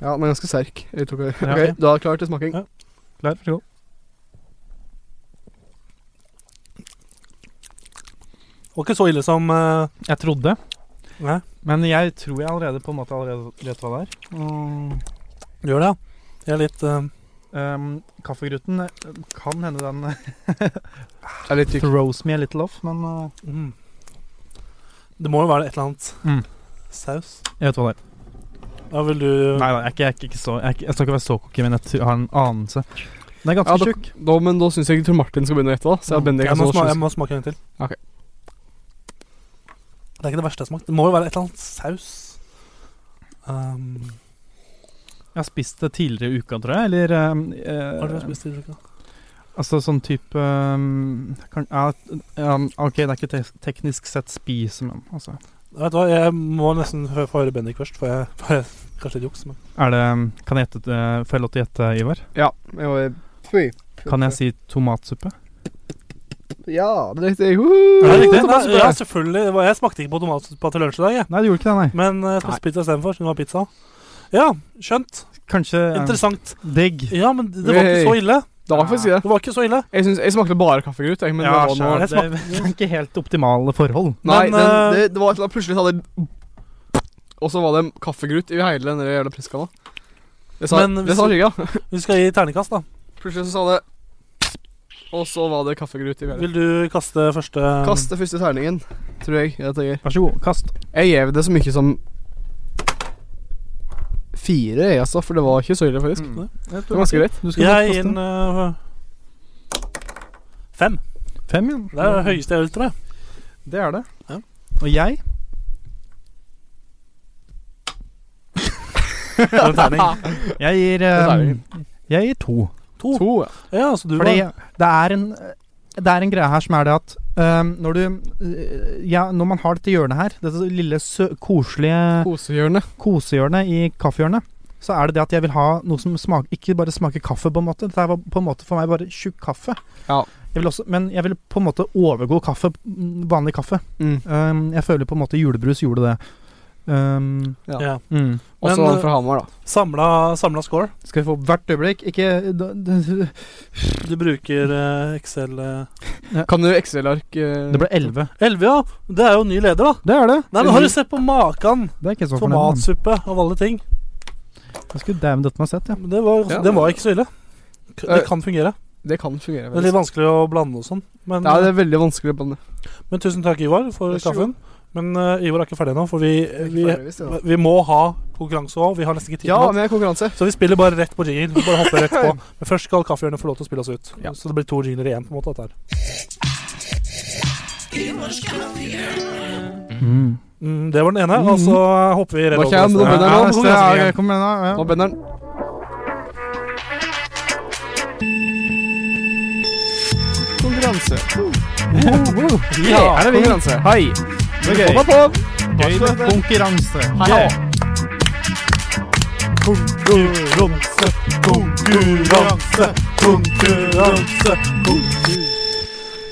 Ja, den er ganske sterk. Jeg tok det.
Ja.
Ok, Da er det klart til smaking.
Klar, vær så god.
Det var ikke så ille som eh,
Jeg trodde.
Nei,
Men jeg tror jeg allerede på en måte allerede vet hva det er. Mm.
du gjør det, ja. Jeg er litt eh,
Um, kaffegruten eh, kan hende den eh,
er litt tykk.
throws me a little off, men uh,
mm. Det må jo være et eller annet
Mm.
saus.
jeg vet hva det er.
Da vil du
Nei, nei, jeg, er ikke, jeg, er ikke så, jeg, er ikke, jeg skal ikke være så cocky, men jeg tr- har en anelse. Den er
Ja,
ganske
da,
tjukk. Mm.
da, men da syns jeg Tor Martin skal begynne å gjette. da Så jeg, Bendik,
jeg,
kan
må
holde
sma- jeg
sjansen.
må smake en gang til.
Ok.
Det er ikke det verste jeg har smakt. Det må jo være et eller annet saus. Um,
Jeg har spist det tidligere i uka, tror jeg. Eller um, eh,
hva har du spist i uka?
Altså sånn type um, kan, ja, um, OK, det er ikke te teknisk sett spise, men altså
Vet du hva, jeg må nesten hø- få høre Bendik først, for jeg, for jeg kanskje litt juks. Men.
Er det um, Kan jeg gjette eh, Får jeg lov til å gjette, Ivar?
Ja, jeg var Fy.
Kan jeg si tomatsuppe?
Ja, det er riktig. Woo!
Ja,
det var så bra.
ja, selvfølgelig. Det var, jeg smakte ikke på tomatsuppe til lunsj i dag, jeg.
Nei, du gjorde ikke det,
Men eh, jeg spiste pizza istedenfor. Hun har pizza. Ja, skjønt.
nei. Kanskje um,
Interessant.
digg.
Ja, men det var ikke så ille.
Da får jeg si det.
Det var ikke så ille.
Jeg, synes, jeg smakte bare kaffegrut. Jeg, men
Ja,
det var noe
skjønner.
Jeg smakte-
det er ikke helt optimale forhold.
Nei,
Men,
den,
eh,
det, det var et eller annet Plutselig så hadde Og så var det kaffegrut i hele den der jævla priskanna. Det sa,
Men
det
hvis
sa
du-
Skygga.
Vi skal gi terningkast, da.
Plutselig så sa det Og så var det kaffegrut i hele
Vil du kaste første
Kast det første terningen, tror jeg. Jeg, tenker.
Vær så god, kast.
jeg gjev det så mye som fire, jeg altså, for det var ikke så ille, faktisk. Det var ganske greit.
Du skal
Jeg
kaste.
gir den eh, fem.
Fem igjen.
Det er det høyeste jeg vil, tror jeg.
Det er det.
Ja.
Og jeg
For en terning.
Jeg gir
Det
um, Jeg gir to.
To.
To, ja.
Ja, så du
Fordi
var
det er en det er en greie her som er det at um, når du uh, Ja, når man har dette hjørnet her, dette lille sø koselige
Kosehjørnet.
kosehjørnet i kaffehjørnet, så er det det at jeg vil ha noe som smaker Ikke bare smaker kaffe, på en måte. Dette her var på en måte for meg bare tjukk kaffe.
Ja.
Jeg vil også, men jeg vil på en måte overgå kaffe, mm, vanlig kaffe.
Mm.
Um, jeg føler på en måte julebrus gjorde det. Um,
ja.
mm.
Og så
Men,
var han fra Hamar, da.
samla, samla score.
Skal vi få hvert øyeblikk? Ikke da- da-
Du bruker eh, Excel eh.
Kan du Excel-ark eh,
Det ble elleve.
11, ja. Det er jo ny leder, da.
Det er det.
Nei, men Har du sett på maken?
Det er ikke så fornøyd.
Tomatsuppe av alle ting.
Jeg skulle dæven døtten ha sett, ja.
Men Det var,
Ja.
det var ikke så ille. K- Det kan fungere.
Det kan fungere.
Det er litt vanskelig å blande og sånn. Men,
Ja, det er veldig vanskelig å blande.
men tusen takk, Ivar, for
Vær så
kaffen. Men eh, Ivar er ikke ferdig ennå, for vi, vi,
Ja,
vi må ha konkurranse òg. Vi har nesten ikke tid nå.
med konkurranse.
Så vi spiller bare rett på jingle. Vi bare hopper rett på. Men først skal Kaffehjørnet få lov til å spille oss ut.
Ja.
Så det blir to jingler igjen, på en måte. Dette her.
Mm.
Mm, det var den ene, og så hopper vi rett
Da
over. til
kommer- da
neste.
Ja,
begynner han,
neste,
konkurransen
ja,
igjen.
ok, kom igjen, da,
Nå
ja.
bender den. Konkurranse.
Ja,
Her er vi. Konkurranse. Hei.
Ok.
Hoppa på.
Konkurranse.
Hei.
Ja.
Konkurranse, konkurranse, konkurranse, konkurranse.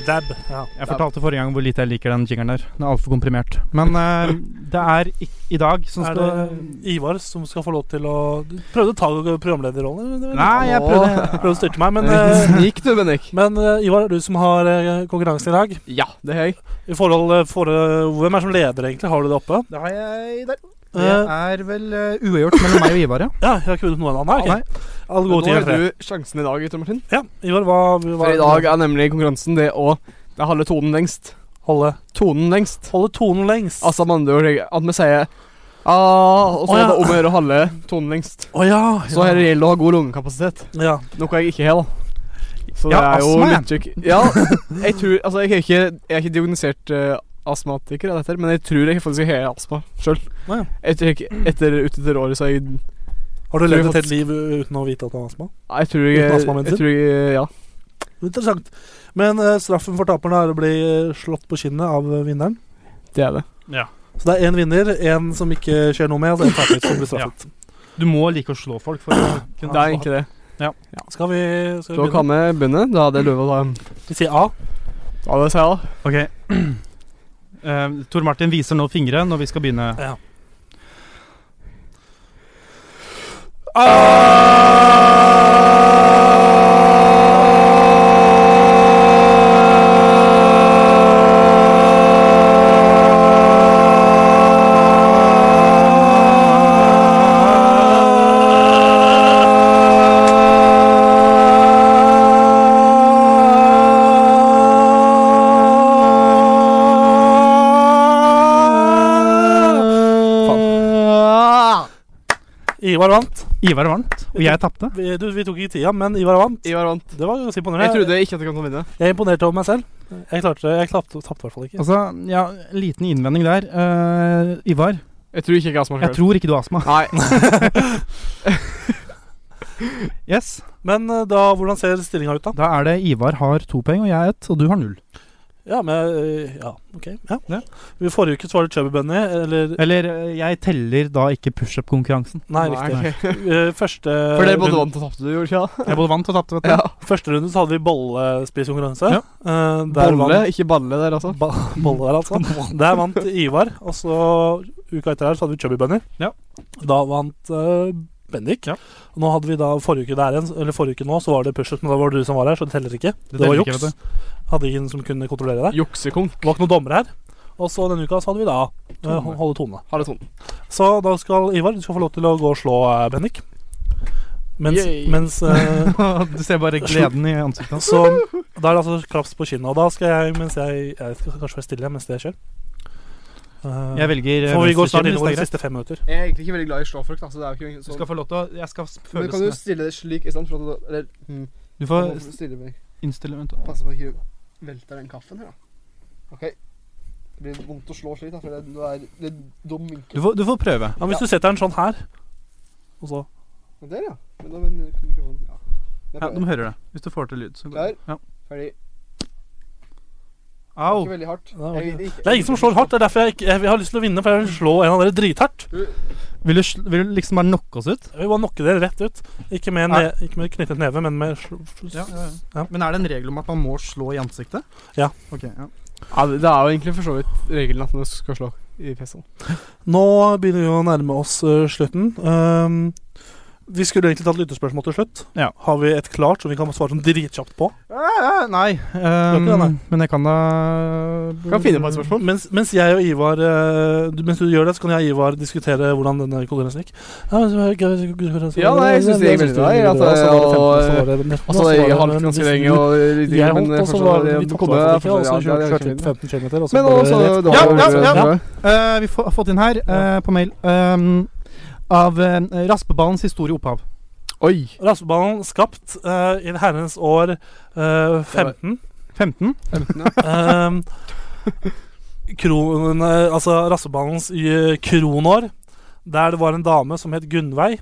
Dab. Ja.
Jeg fortalte forrige gang hvor lite jeg liker den jingeren der. Den er altfor komprimert. Men eh, det er i, i dag som
Er
skal
det Ivar som skal få lov til å Du prøvde å ta programlederrollen? eller?
Nei, jeg prøvde-
Prøvde å styrte meg, men
En liten
eh,
snik, du, Bennik.
Men eh, Ivar, du som har eh, konkurransen i dag.
Ja, det har jeg.
I forhold, eh, for, eh, hvem er som leder, egentlig? Har du det oppe?
Da har jeg der. Det
Eh,
er vel eh, uavgjort mellom meg og Ivar, ja.
Ja, jeg har ikke vunnet noen annen.
Ja,
ok. Alle gode
Men
tider
Nå har du sjansen i dag, Tor Martin.
Ja, Ivar, hva, hva
For i dag er nemlig konkurransen det å det er halve tonen lengst.
Holde
tonen lengst.
Holde tonen lengst.
Altså med andre ord at vi sier ah, og
Å,
så
ja.
er det om å gjøre å holde tonen lengst.
Å ja,
Så her gjelder det å ha god lungekapasitet.
Ja.
Noe jeg ikke har, da. Så
Ja,
det er jo
astma, ja.
litt tjukk. Ja, jeg tror Altså, jeg er ikke, jeg er ikke diagnosert eh, astmatiker, av dette, her, men jeg tror jeg faktisk har astma sjøl.
Å, ja.
Etter, etter, ut etter året, så har jeg
Har du
tror jeg
levd et helt
faktisk-
liv uh, uten å vite at du har astma?
Nei, jeg tror jeg,
Uten
jeg,
astmamedisin?
tror jeg Ja.
Interessant. Men eh, straffen for taperen er å bli eh, slått på kinnet av eh, vinneren.
Det er det.
Så det er én vinner, én som ikke skjer noe med, og så en taper som blir straffet.
Du må like å slå folk for å kunne
Det er egentlig det.
Ja.
Skal vi, skal vi
Da kan vi begynne. Da hadde jeg lov å ta en
Vi sier A.
Ja, det sier jeg, da.
Ok. Eh, Tor Martin viser nå fingre når vi skal begynne.
Ja. Ivar vant.
Ivar vant, og jeg tapte.
Vi, du, vi tok ikke tida, men Ivar vant.
Ivar vant.
Det var ganske imponerende.
Jeg trodde ikke at jeg kom til å vinne.
Jeg er imponert over meg selv. Jeg klarte Jeg klapte- tapte i hvert fall ikke.
Altså, ja, liten innvending der. Eh, Ivar,
Jeg tror ikke jeg har astma
jeg
selv.
tror ikke du har astma.
Nei.
Yes.
Men eh, da, hvordan ser stillinga ut, da?
Da er det Ivar har to poeng, og jeg ett, og du har null.
Ja, men eh, Ja, OK. Ja. I forrige uke så var det Chubby Bunny, eller
Eller eh, jeg teller da ikke pushup-konkurransen.
Nei, riktig. Eh, Første
For dere både
runde-
vant og tapte, du gjorde ikke
Jeg både vant og tapte, vet du.
Ja.
Første runde så hadde vi bollespisekonkurranse.
Ja.
Eh, der
Bolle,
vant-
ikke balle der, altså.
bolle der, altså. Der vant Ivar. Og så uka etter der så hadde vi Chubby Bunny.
Ja.
Da vant eh, Bendik. Og nå hadde vi da forrige uke der igjen, eller forrige uke nå, så var det pushup, men da var det du som var her, så det teller ikke. Det, var
teller ikke,
juks.
vet
hadde ingen som kunne kontrollere deg.
Juksekonk.
Det var ikke noen dommere her. Og så denne uka så hadde vi da eh,
Tone.
holde tone.
Har det sånn.
Så da skal Ivar, du skal få lov til å gå og slå eh, Bendik. Mens,
Yay.
mens eh,
du ser bare gleden i ansiktet hans.
Så da er det altså klaps på kinnet. Og da skal jeg, mens jeg, jeg skal kanskje være stille mens det skjer. Eh,
Jeg velger, eh,
For vi går
venstre kinn,
snart
hvis det
innover
er
de
greit.
siste fem minutter.
Jeg er egentlig ikke veldig glad i å slå folk, da, så det er jo ikke sånn.
Du skal få lov til å Jeg skal føles
Men kan du stille det slik i stedet for at du Eller hm.
Du får
Nå du stille meg.
innstille Vent,
Passe på at ikke du velter den kaffen her, da. OK. Det blir vondt å slå slik, da, for det, du er litt dum vinkel.
Du får, du får prøve.
Ja, men hvis du setter den sånn her, og så
Men der, ja. Men da vender mikrofonen Ja. Jeg
Ja,
prøver.
de hører det. Hvis du får til lyd, så går
Klar,
det. Ja.
ferdig.
Au.
Ikke veldig hardt.
Nei,
Jeg-
ok.
jeg-
Det er ingen som slår hardt. Det er derfor jeg, ikke, jeg, har lyst til å vinne, for jeg vil slå en av dere drithardt.
Vil du, sl- vil du liksom bare knocke oss ut?
Jeg vil bare knokke dere rett ut. Ikke med,
Nei.
ne ikke med knyttet neve, men med sl sl
Ja, ja, Men er det en regel om at man må slå i ansiktet?
Ja.
Ok, ja.
Ja, det, det er jo egentlig for så vidt regelen at man skal slå i PC-en.
Nå begynner vi å nærme oss eh, slutten. Ehm, vi skulle egentlig tatt lyttespørsmål til slutt.
Ja.
Har vi et klart som vi kan svare sånn dritkjapt på?
Ah, Nei.
Gjør ikke det, nei.
ehm, men jeg kan da
Kan finne på et spørsmål.
Mens, mens jeg og Ivar eh, du- Mens du gjør det, så kan jeg og Ivar diskutere hvordan denne konkurransen gikk. Ja, men så var det gøy, så- så- så-
Ja, nei, jeg syns det gikk
synes
veldig bra. jeg,
det gikk
altså,
bra. Så var det
og,
15, så var det 19,
Altså,
så var
jeg
det
holdt ganske
19.
lenge, og
Jeg
litt, men eh,
holdt, og så
fortsatt-
var
jeg
det vi
kom-
tapte i hvert fall ikke, og så
ja, ja, det er
kjørte vi
kjempefint.
15 km.
Men også da-
Ja,
da-
ja, ja,
da-
ja. Eh, vi har fått inn her, eh, på mail, ehm, av eh, raspeballens historie og opphav.
Oi!
Raspeballen skapt eh, i det herrens år eh, 15.
15?
Ehm, kron, eh, altså rasseballens i- kronår, der det var en dame som het Gunnveig,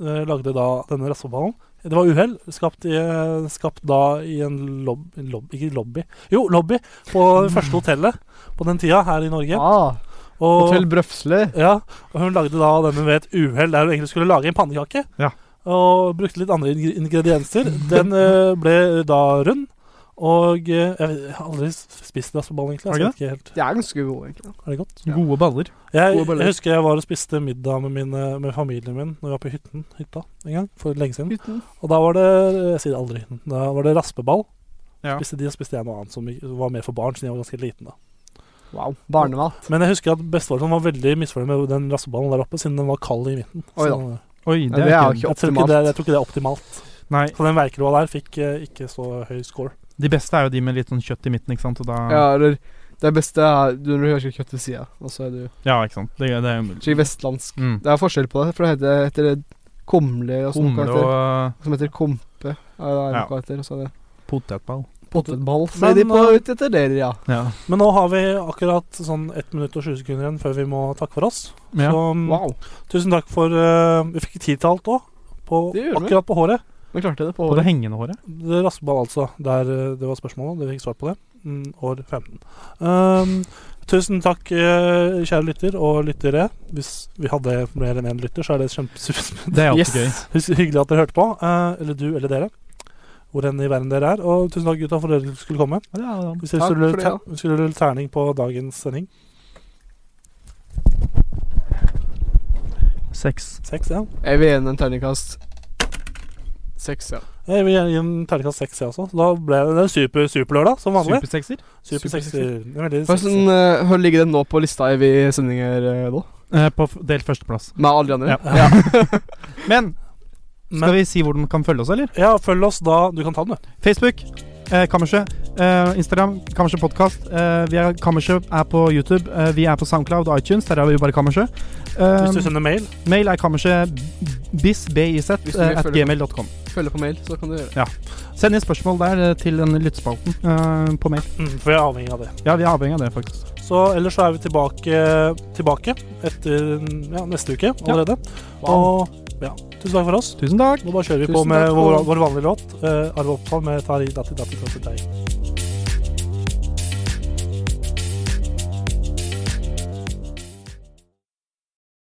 eh, lagde da denne rasseballen. Det var uhell, skapt, i, eh, skapt da i en lob, en lob, ikke lobby Jo, lobby på det første hotellet på den tida her i Norge.
Ah.
Og,
Hotell Brøfsle.
Ja, og hun lagde da denne ved et uhell der hun egentlig skulle lage en pannekake.
Ja.
Og brukte litt andre ingre- ingredienser. Den eh, ble da rund. Og eh, jeg vet- jeg har aldri spist dassball, egentlig.
Har
Jeg
du
vet ikke helt.
Det er ganske god, egentlig.
Er det godt?
Gode baller.
Jeg,
Gode baller.
jeg husker jeg var og spiste middag med, mine, med familien min når vi var på hytten, hytta en gang for lenge siden.
Hytten.
Og da var det Jeg sier aldri hytten. Da var det raspeball.
Ja.
Spiste de, og spiste jeg noe annet som var mer for barn, siden jeg var ganske liten da.
Wow. Barnemat.
Men jeg husker at bestefaren var veldig misfornøyd med den rasseballen der oppe, siden den var kald i midten.
Oi da.
Så- eh,
Oi,
Ja,
det,
det er
er
jo
ikke
ikke
jeg, tror ikke det, jeg tror ikke det er optimalt.
Nei.
Så den verkroa der fikk eh, ikke så høy score.
De beste er jo de med litt sånn kjøtt i midten, ikke sant. Og da
Ja, eller det beste er du når du hører kjøtt ved sida, og så er du
Ja, ikke sant. Det, det er umulig.
skikkelig vestlandsk.
Mm.
Det er forskjell på det, for det heter, heter det kumle og sånn
Humle
karakter.
og
Som heter kompe. Ja, det er
Ja.
noe karakter, og så er det
potetball.
potetball. Så
Men,
er de på
eh,
ut etter dere, ja.
Ja.
Men nå har vi akkurat sånn 1 minutt og 20 sekunder igjen før vi må takke for oss.
Ja.
Så mm,
Wow.
tusen takk for eh, Vi fikk tid til alt òg.
Det gjorde vi.
Akkurat på håret.
Vi klarte det på
På det
håret.
hengende håret.
Det Rasseball, altså. Der, eh, det var spørsmålet. Dere fikk svar på det. Mm, år 15. Um, tusen takk, eh, kjære lytter og lyttere. Hvis vi hadde mer enn én lytter, så er det kjempesuspekt.
Det er alltid gøy.
Yes.
Hus- Hyggelig at dere hørte på. eh, eller du eller dere. Hvor enn i verden dere er. Og tusen takk, gutta, for at dere skulle komme.
Ja, det er det.
Hvis dere
Takk
skulle,
for det,
ter skulle rulle terning på dagens sending.
Sex.
Seks, ja.
Jeg vil gjerne en terningkast seks, ja.
Jeg vil gjerne gi en terningkast seks, jeg også. Så da ble det en super, superlørdag, som vanlig.
Supersekser.
Super,
supersekser.
Det er veldig sexy.
Forresten, eh, hvor ligger den nå på lista i vi sendinger eh, nå?
Eh, på f- delt førsteplass.
Med alle de andre?
Ja. Men
Men-
skal vi si hvor de kan følge oss, eller?
Ja, følg oss da. Du kan ta den, du.
Facebook, eh, Kammerset. Eh, Instagram, Kammerset Podcast. Eh, vi er- Kammerset er på YouTube. Eh, vi er på Soundcloud og iTunes. Der er vi jo bare Kammerset. Eh,
Hvis du sender mail.
mail er kammersetbiz.biz
Hvis du vil
eh, at
følge-
gmail.com.
Følg på mail, så kan du gjøre det.
Send inn spørsmål der eh, til den lyttespalten eh, på mail.
Mm, for jeg er avhengig av det.
Ja, vi er avhengig av det, faktisk.
Så ellers så er vi tilbake, tilbake etter ja, neste uke allerede.
Wow.
Og ja, tusen takk for oss.
Tusen takk.
Nå bare kjører vi
Tusen
på med
takk
vår,
for-
vår vanlige låt. eh, Arve Oppsal med Tari Datti Datti Datti Datti.